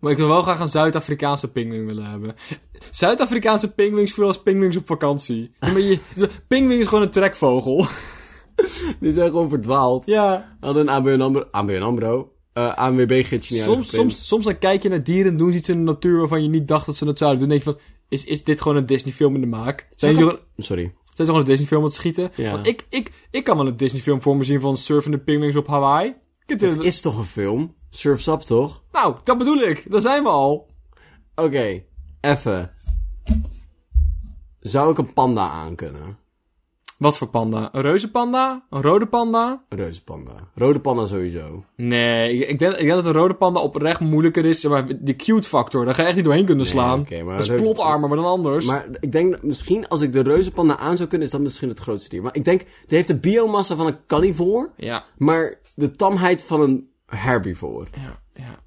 Maar ik wil wel graag een Zuid-Afrikaanse pinguïn willen hebben. Zuid-Afrikaanse pinguïns voelen als pinguïns op vakantie. Ja, maar je- zo- pinguïn is gewoon een trekvogel. Die zijn gewoon verdwaald. ja. We hadden een ABN AMRO... ABN AMRO... eh ANWB gids je niet soms, uitgeprint. soms, soms dan kijk je naar dieren en doen ze iets in de natuur waarvan je niet dacht dat ze dat zouden doen. Dan denk je van, is, is dit gewoon een Disney film in de maak? Zijn ze gewoon, Sorry. zijn ze gewoon een Disney film aan het schieten? Ja. Want ik, ik, ik kan wel een Disney film voor me zien van surfende pinguïns op Hawaii. Ik heb dit- Het is toch een film? Surf's Up toch? Nou, dat bedoel ik. Daar zijn we al. Oké, even. Zou ik een panda aankunnen? Wat voor panda? Een reuzenpanda? Een rode panda? Een reuzenpanda. Rode panda sowieso. Nee, ik, ik denk, ik denk dat een rode panda oprecht moeilijker is. Zeg Maar die cute factor, daar ga je echt niet doorheen kunnen slaan. oké, maar dat is reuze- plotarmer, maar dan anders. Maar ik denk dat misschien als ik de reuzenpanda aan zou kunnen, is dat misschien het grootste dier. Maar ik denk, die heeft de biomassa van een carnivore, Ja, maar de tamheid van een herbivore. ja, ja.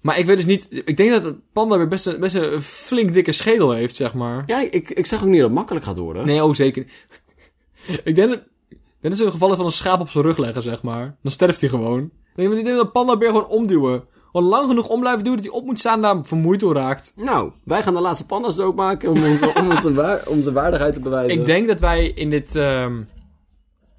Maar ik weet dus niet... Ik denk dat een panda weer best een, best een flink dikke schedel heeft, zeg maar. Ja, ik, ik zeg ook niet dat het makkelijk gaat worden. Nee, oh zeker. niet. ik denk dat... Ik denk dat ze in het geval van een schaap op zijn rug leggen, zeg maar. Dan sterft hij gewoon. Ik denk dat die een pandabeer gewoon omduwen. Gewoon lang genoeg om blijven doen dat hij op moet staan en daar vermoeid door raakt. Nou, wij gaan de laatste panda's doodmaken om onze, om onze, waar- om onze waardigheid te bewijzen. Ik denk dat wij in dit, ehm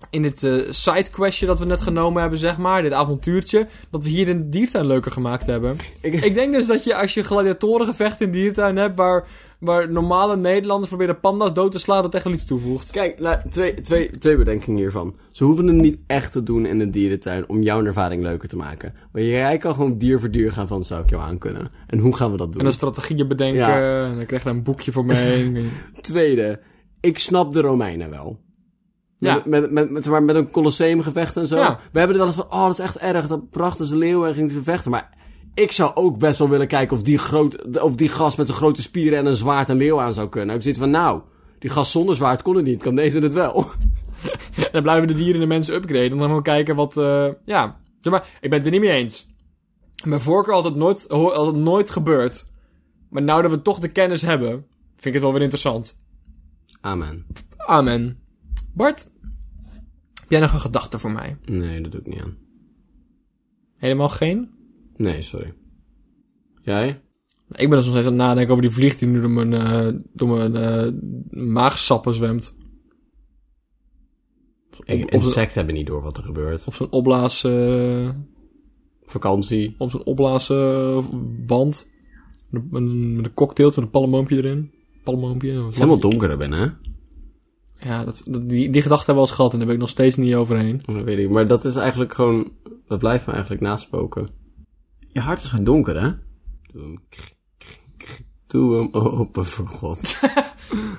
in dit eh side questje dat we net genomen hebben, zeg maar, dit avontuurtje, dat we hier een diertuin leuker gemaakt hebben. Ik- Ik denk dus dat je als je gladiatorengevechten in diertuin hebt, waar, waar normale Nederlanders proberen panda's dood te slaan, dat echt wel iets toevoegt. Kijk, nou, twee, twee, twee bedenkingen hiervan. Ze hoeven het niet echt te doen in een dierentuin om jouw ervaring leuker te maken. Maar jij kan gewoon dier voor dier gaan van, zou ik jou aankunnen? En hoe gaan we dat doen? En dan strategieën bedenken, Ja. en dan krijg je daar een boekje voor mee. Tweede, ik snap de Romeinen wel. Ja. Met, met, met, met, zeg maar, met een colosseumgevecht en zo. Ja. We hebben er wel eens van, oh, dat is echt erg. Dat prachtige ze leeuwen en gingen ze vechten. Maar ik zou ook best wel willen kijken of die, groot, of die gast met zijn grote spieren en een zwaard een leeuw aan zou kunnen. Ik zit van, nou, die gast zonder zwaard kon het niet. Kan deze het wel? en dan blijven de dieren en de mensen upgraden, en dan gaan we kijken wat, eh, ja. Zeg maar, ik ben het er niet mee eens. Mijn voorkeur altijd nooit, ho- altijd nooit gebeurd. Maar nou dat we toch de kennis hebben, vind ik het wel weer interessant. Amen. Amen. Bart, heb jij nog een gedachte voor mij? Nee, dat doe ik niet aan. Helemaal geen? Nee, sorry. Jij? Ik ben dus nog steeds aan het nadenken over die vlieg die nu door mijn, eh, door mijn eh, maagsappen zwemt. Op- op- insecten hebben niet door wat er gebeurt. Op zo'n opblaas, eh, Vakantie. op zo'n opblaas eh, band. Met een, met een cocktail, met een palmboompje erin. Palmboompje. Het is helemaal donker er binnen, hè? Ja, dat, dat- die, die gedachte hebben we al eens gehad en daar ben ik nog steeds niet overheen. Dat weet ik. Maar dat is eigenlijk gewoon... Dat blijft me eigenlijk naspoken. Je hart is gewoon donker, hè? Doe hem. krik, krik, krik. Doe hem open voor God.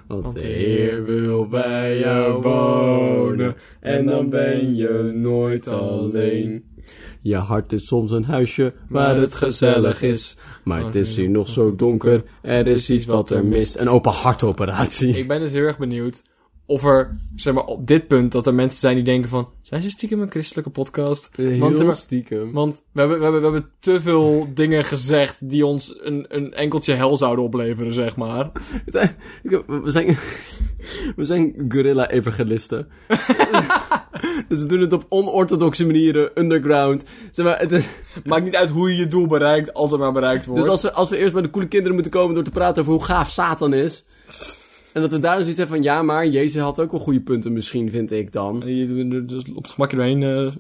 Want de Heer wil bij jou wonen. En dan ben je nooit alleen. Je hart is soms een huisje waar het gezellig is. Maar het is hier nog zo donker. Er is iets wat er mist. Een open hartoperatie. Ik ben dus heel erg benieuwd of er, zeg maar, op dit punt, dat er mensen zijn die denken van... Zijn ze stiekem een christelijke podcast? Want, zeg maar, stiekem. Want we hebben, we, hebben, we hebben te veel dingen gezegd die ons een, een enkeltje hel zouden opleveren, zeg maar. Ik heb- We zijn, we zijn guerrilla-evangelisten. dus we doen het op onorthodoxe manieren, underground. Zeg maar, het is- Maakt niet uit hoe je je doel bereikt, als het maar bereikt wordt. dus als we, als we eerst bij de coole kinderen moeten komen door te praten over hoe gaaf Satan is. En dat we daar dus iets hebben van, ja maar, Jezus had ook wel goede punten misschien, vind ik dan. En je er dus op het gemakje doorheen eh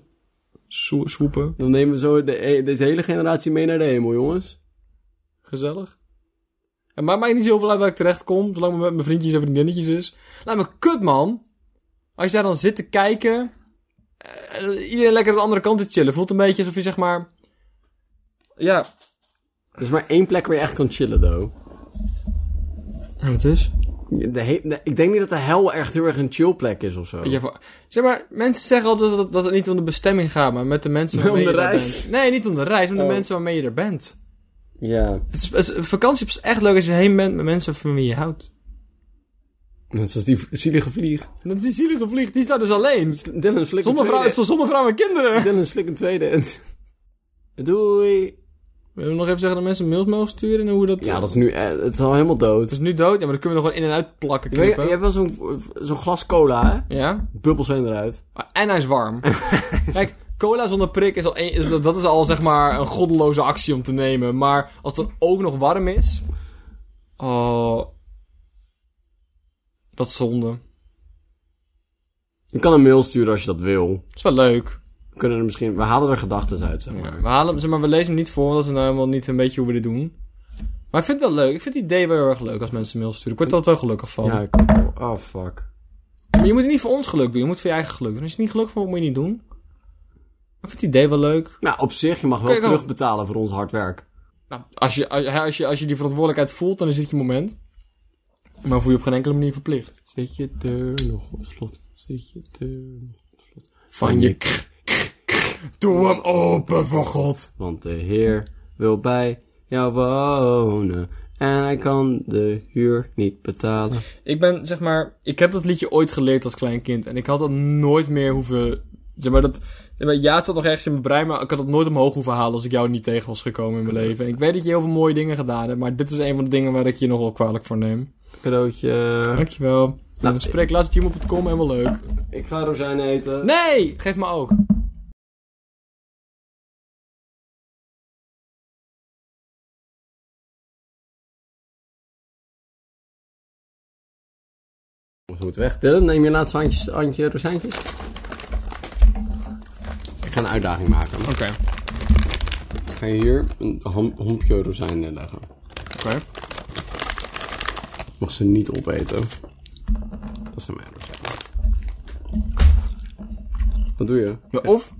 swoe- swoepen. Dan nemen we zo de, e, deze hele generatie mee naar de hemel, jongens. Gezellig. En maar maakt niet zoveel uit waar ik terecht kom, zolang het met mijn vriendjes en vriendinnetjes is. Laat me kut, man. Als je daar dan zit te kijken, eh, iedereen lekker aan de andere kant te chillen. Voelt een beetje alsof je zeg maar... Ja. Er is maar één plek waar je echt kan chillen, though. Wat is? De he- de- ik denk niet dat de hel echt heel erg een chill plek is of zo. Ja, voor- zeg maar, mensen zeggen altijd dat, dat het niet om de bestemming gaat, maar met de mensen Maar om waarmee de je daar reis. bent. Nee, niet om de reis, maar Oh. de mensen waarmee je er bent. ja. Het is, het is- vakantie is echt leuk als je heen bent met mensen van wie je houdt. Net zoals die v- zielige vlieg. Dat is die zielige vlieg, die staat dus alleen. Dylan slik Zonder een vrouw, tweede. zonder vrouw en kinderen. Dylan slik een tweede. En... Doei. We willen nog even zeggen dat mensen mails mogen sturen en hoe dat... Ja, dat is nu... eh, het is al helemaal dood. Het is nu dood, ja, maar dat kunnen we nog gewoon in en uit plakken, Je, weet- knippen. je hebt wel zo'n zo'n glas cola, hè? Ja? Bubbels zijn eruit. Ah, En hij is warm. Kijk, cola zonder prik is al een, is, dat is al zeg maar een goddeloze actie om te nemen. Maar als het dan ook nog warm is. Oh. Dat is zonde. Je kan een mail sturen als je dat wil. Dat is wel leuk. We kunnen er misschien... We halen er gedachten uit, zeg maar. We, halen, zeg maar we lezen hem niet voor, want dat is nou helemaal niet een beetje hoe we dit doen. Maar ik vind het wel leuk. Ik vind het idee wel heel erg leuk als mensen mails sturen. Ik word er altijd wel gelukkig van. Ja, ik- oh, fuck. Maar je moet het niet voor ons geluk doen. Je moet het voor je eigen geluk doen. Als je het niet gelukkig voor moet je niet doen. Ik vind het idee wel leuk. Nou, op zich, je mag wel Kijk, oh. terugbetalen voor ons hard werk. Nou, als, je, als, je, als, je, als je die verantwoordelijkheid voelt, dan is dit je moment. Maar voel je op geen enkele manier verplicht. Zet je deur nog op slot. Zet je deur nog op slot. Van je k- Doe hem open, voor God. Want de Heer wil bij jou wonen. En hij kan de huur niet betalen. Ik ben, zeg maar... Ik heb dat liedje ooit geleerd als klein kind. En ik had dat nooit meer hoeven... Zeg maar, dat... zeg maar, Ja, het zat nog ergens in mijn brein, maar ik had dat nooit omhoog hoeven halen als ik jou niet tegen was gekomen in mijn leven. En ik weet dat je heel veel mooie dingen gedaan hebt, maar dit is een van de dingen waar ik je nogal kwalijk voor neem. Cadeautje. Dankjewel. Nou, Nou, spreek laatst gmail.com, helemaal leuk. Ik ga rozijnen eten. Nee! Geef me ook. Ze moeten weg. Dylan, neem je laatste handje, handje rozijntjes. Ik ga een uitdaging maken. Oké. Ik ga hier een ham, hompje rozijnen leggen. Oké. Mag ze niet opeten. Dat zijn mijn rozijnen. Wat doe je? Ja, of...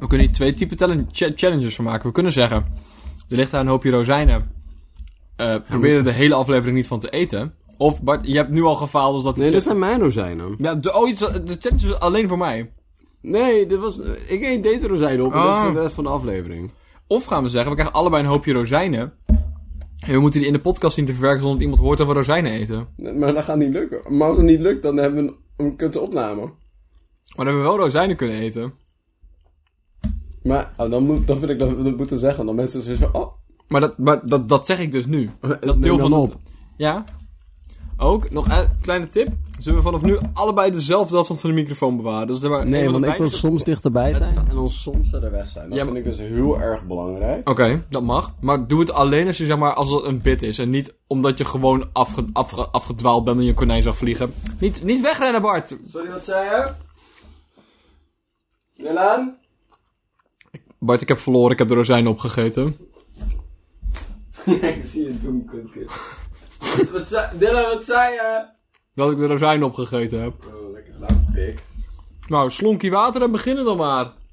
We kunnen hier twee type talent- cha- challenges van maken. We kunnen zeggen... Er ligt daar een hoopje rozijnen. Eh probeer er de hele aflevering niet van te eten. Of, Bart, je hebt nu al gefaald, dus dat... Nee, dit zijn mijn rozijnen. Ja, de, oh, iets- de challenge is alleen voor mij. Nee, dit was, ik eet deze rozijnen op en dat is Ah. voor de rest van de aflevering. Of gaan we zeggen, we krijgen allebei een hoopje rozijnen. En we moeten die in de podcast zien te verwerken zonder dat iemand hoort dat we rozijnen eten. Nee, Maar dat gaat niet lukken. Maar als het niet lukt, dan hebben we een, een kutte opname. Maar dan hebben we wel rozijnen kunnen eten. Maar oh, dan, moet, dan vind ik dat we dat moeten zeggen. Dan mensen zeggen van, oh, Maar dat, maar dat, dat zeg ik dus nu. Dat Eh, neem deel dan van op. Ja. Ook, nog een kleine tip. Zullen we vanaf nu allebei dezelfde afstand van de microfoon bewaren? Dus maar een Nee, van want de ik wil weinige- soms dichterbij zijn en dan soms verder weg zijn. Dat Ja, vind ik dus heel erg belangrijk. Oké, dat mag. Maar doe het alleen als, je, zeg maar, als het een bit is. En niet omdat je gewoon afge- afge- afgedwaald bent en je konijn zag vliegen. Niet, niet wegrennen, Bart! Sorry, wat zei je? Milan? Bart, ik heb verloren. Ik heb de rozijnen opgegeten. Ja, ik zie je doen, kutje. Wat- wat zei- Dylan, wat zei je? Dat ik de rozijnen opgegeten heb. Oh, lekker gedaan, pik. Nou, slonkie water en beginnen dan maar.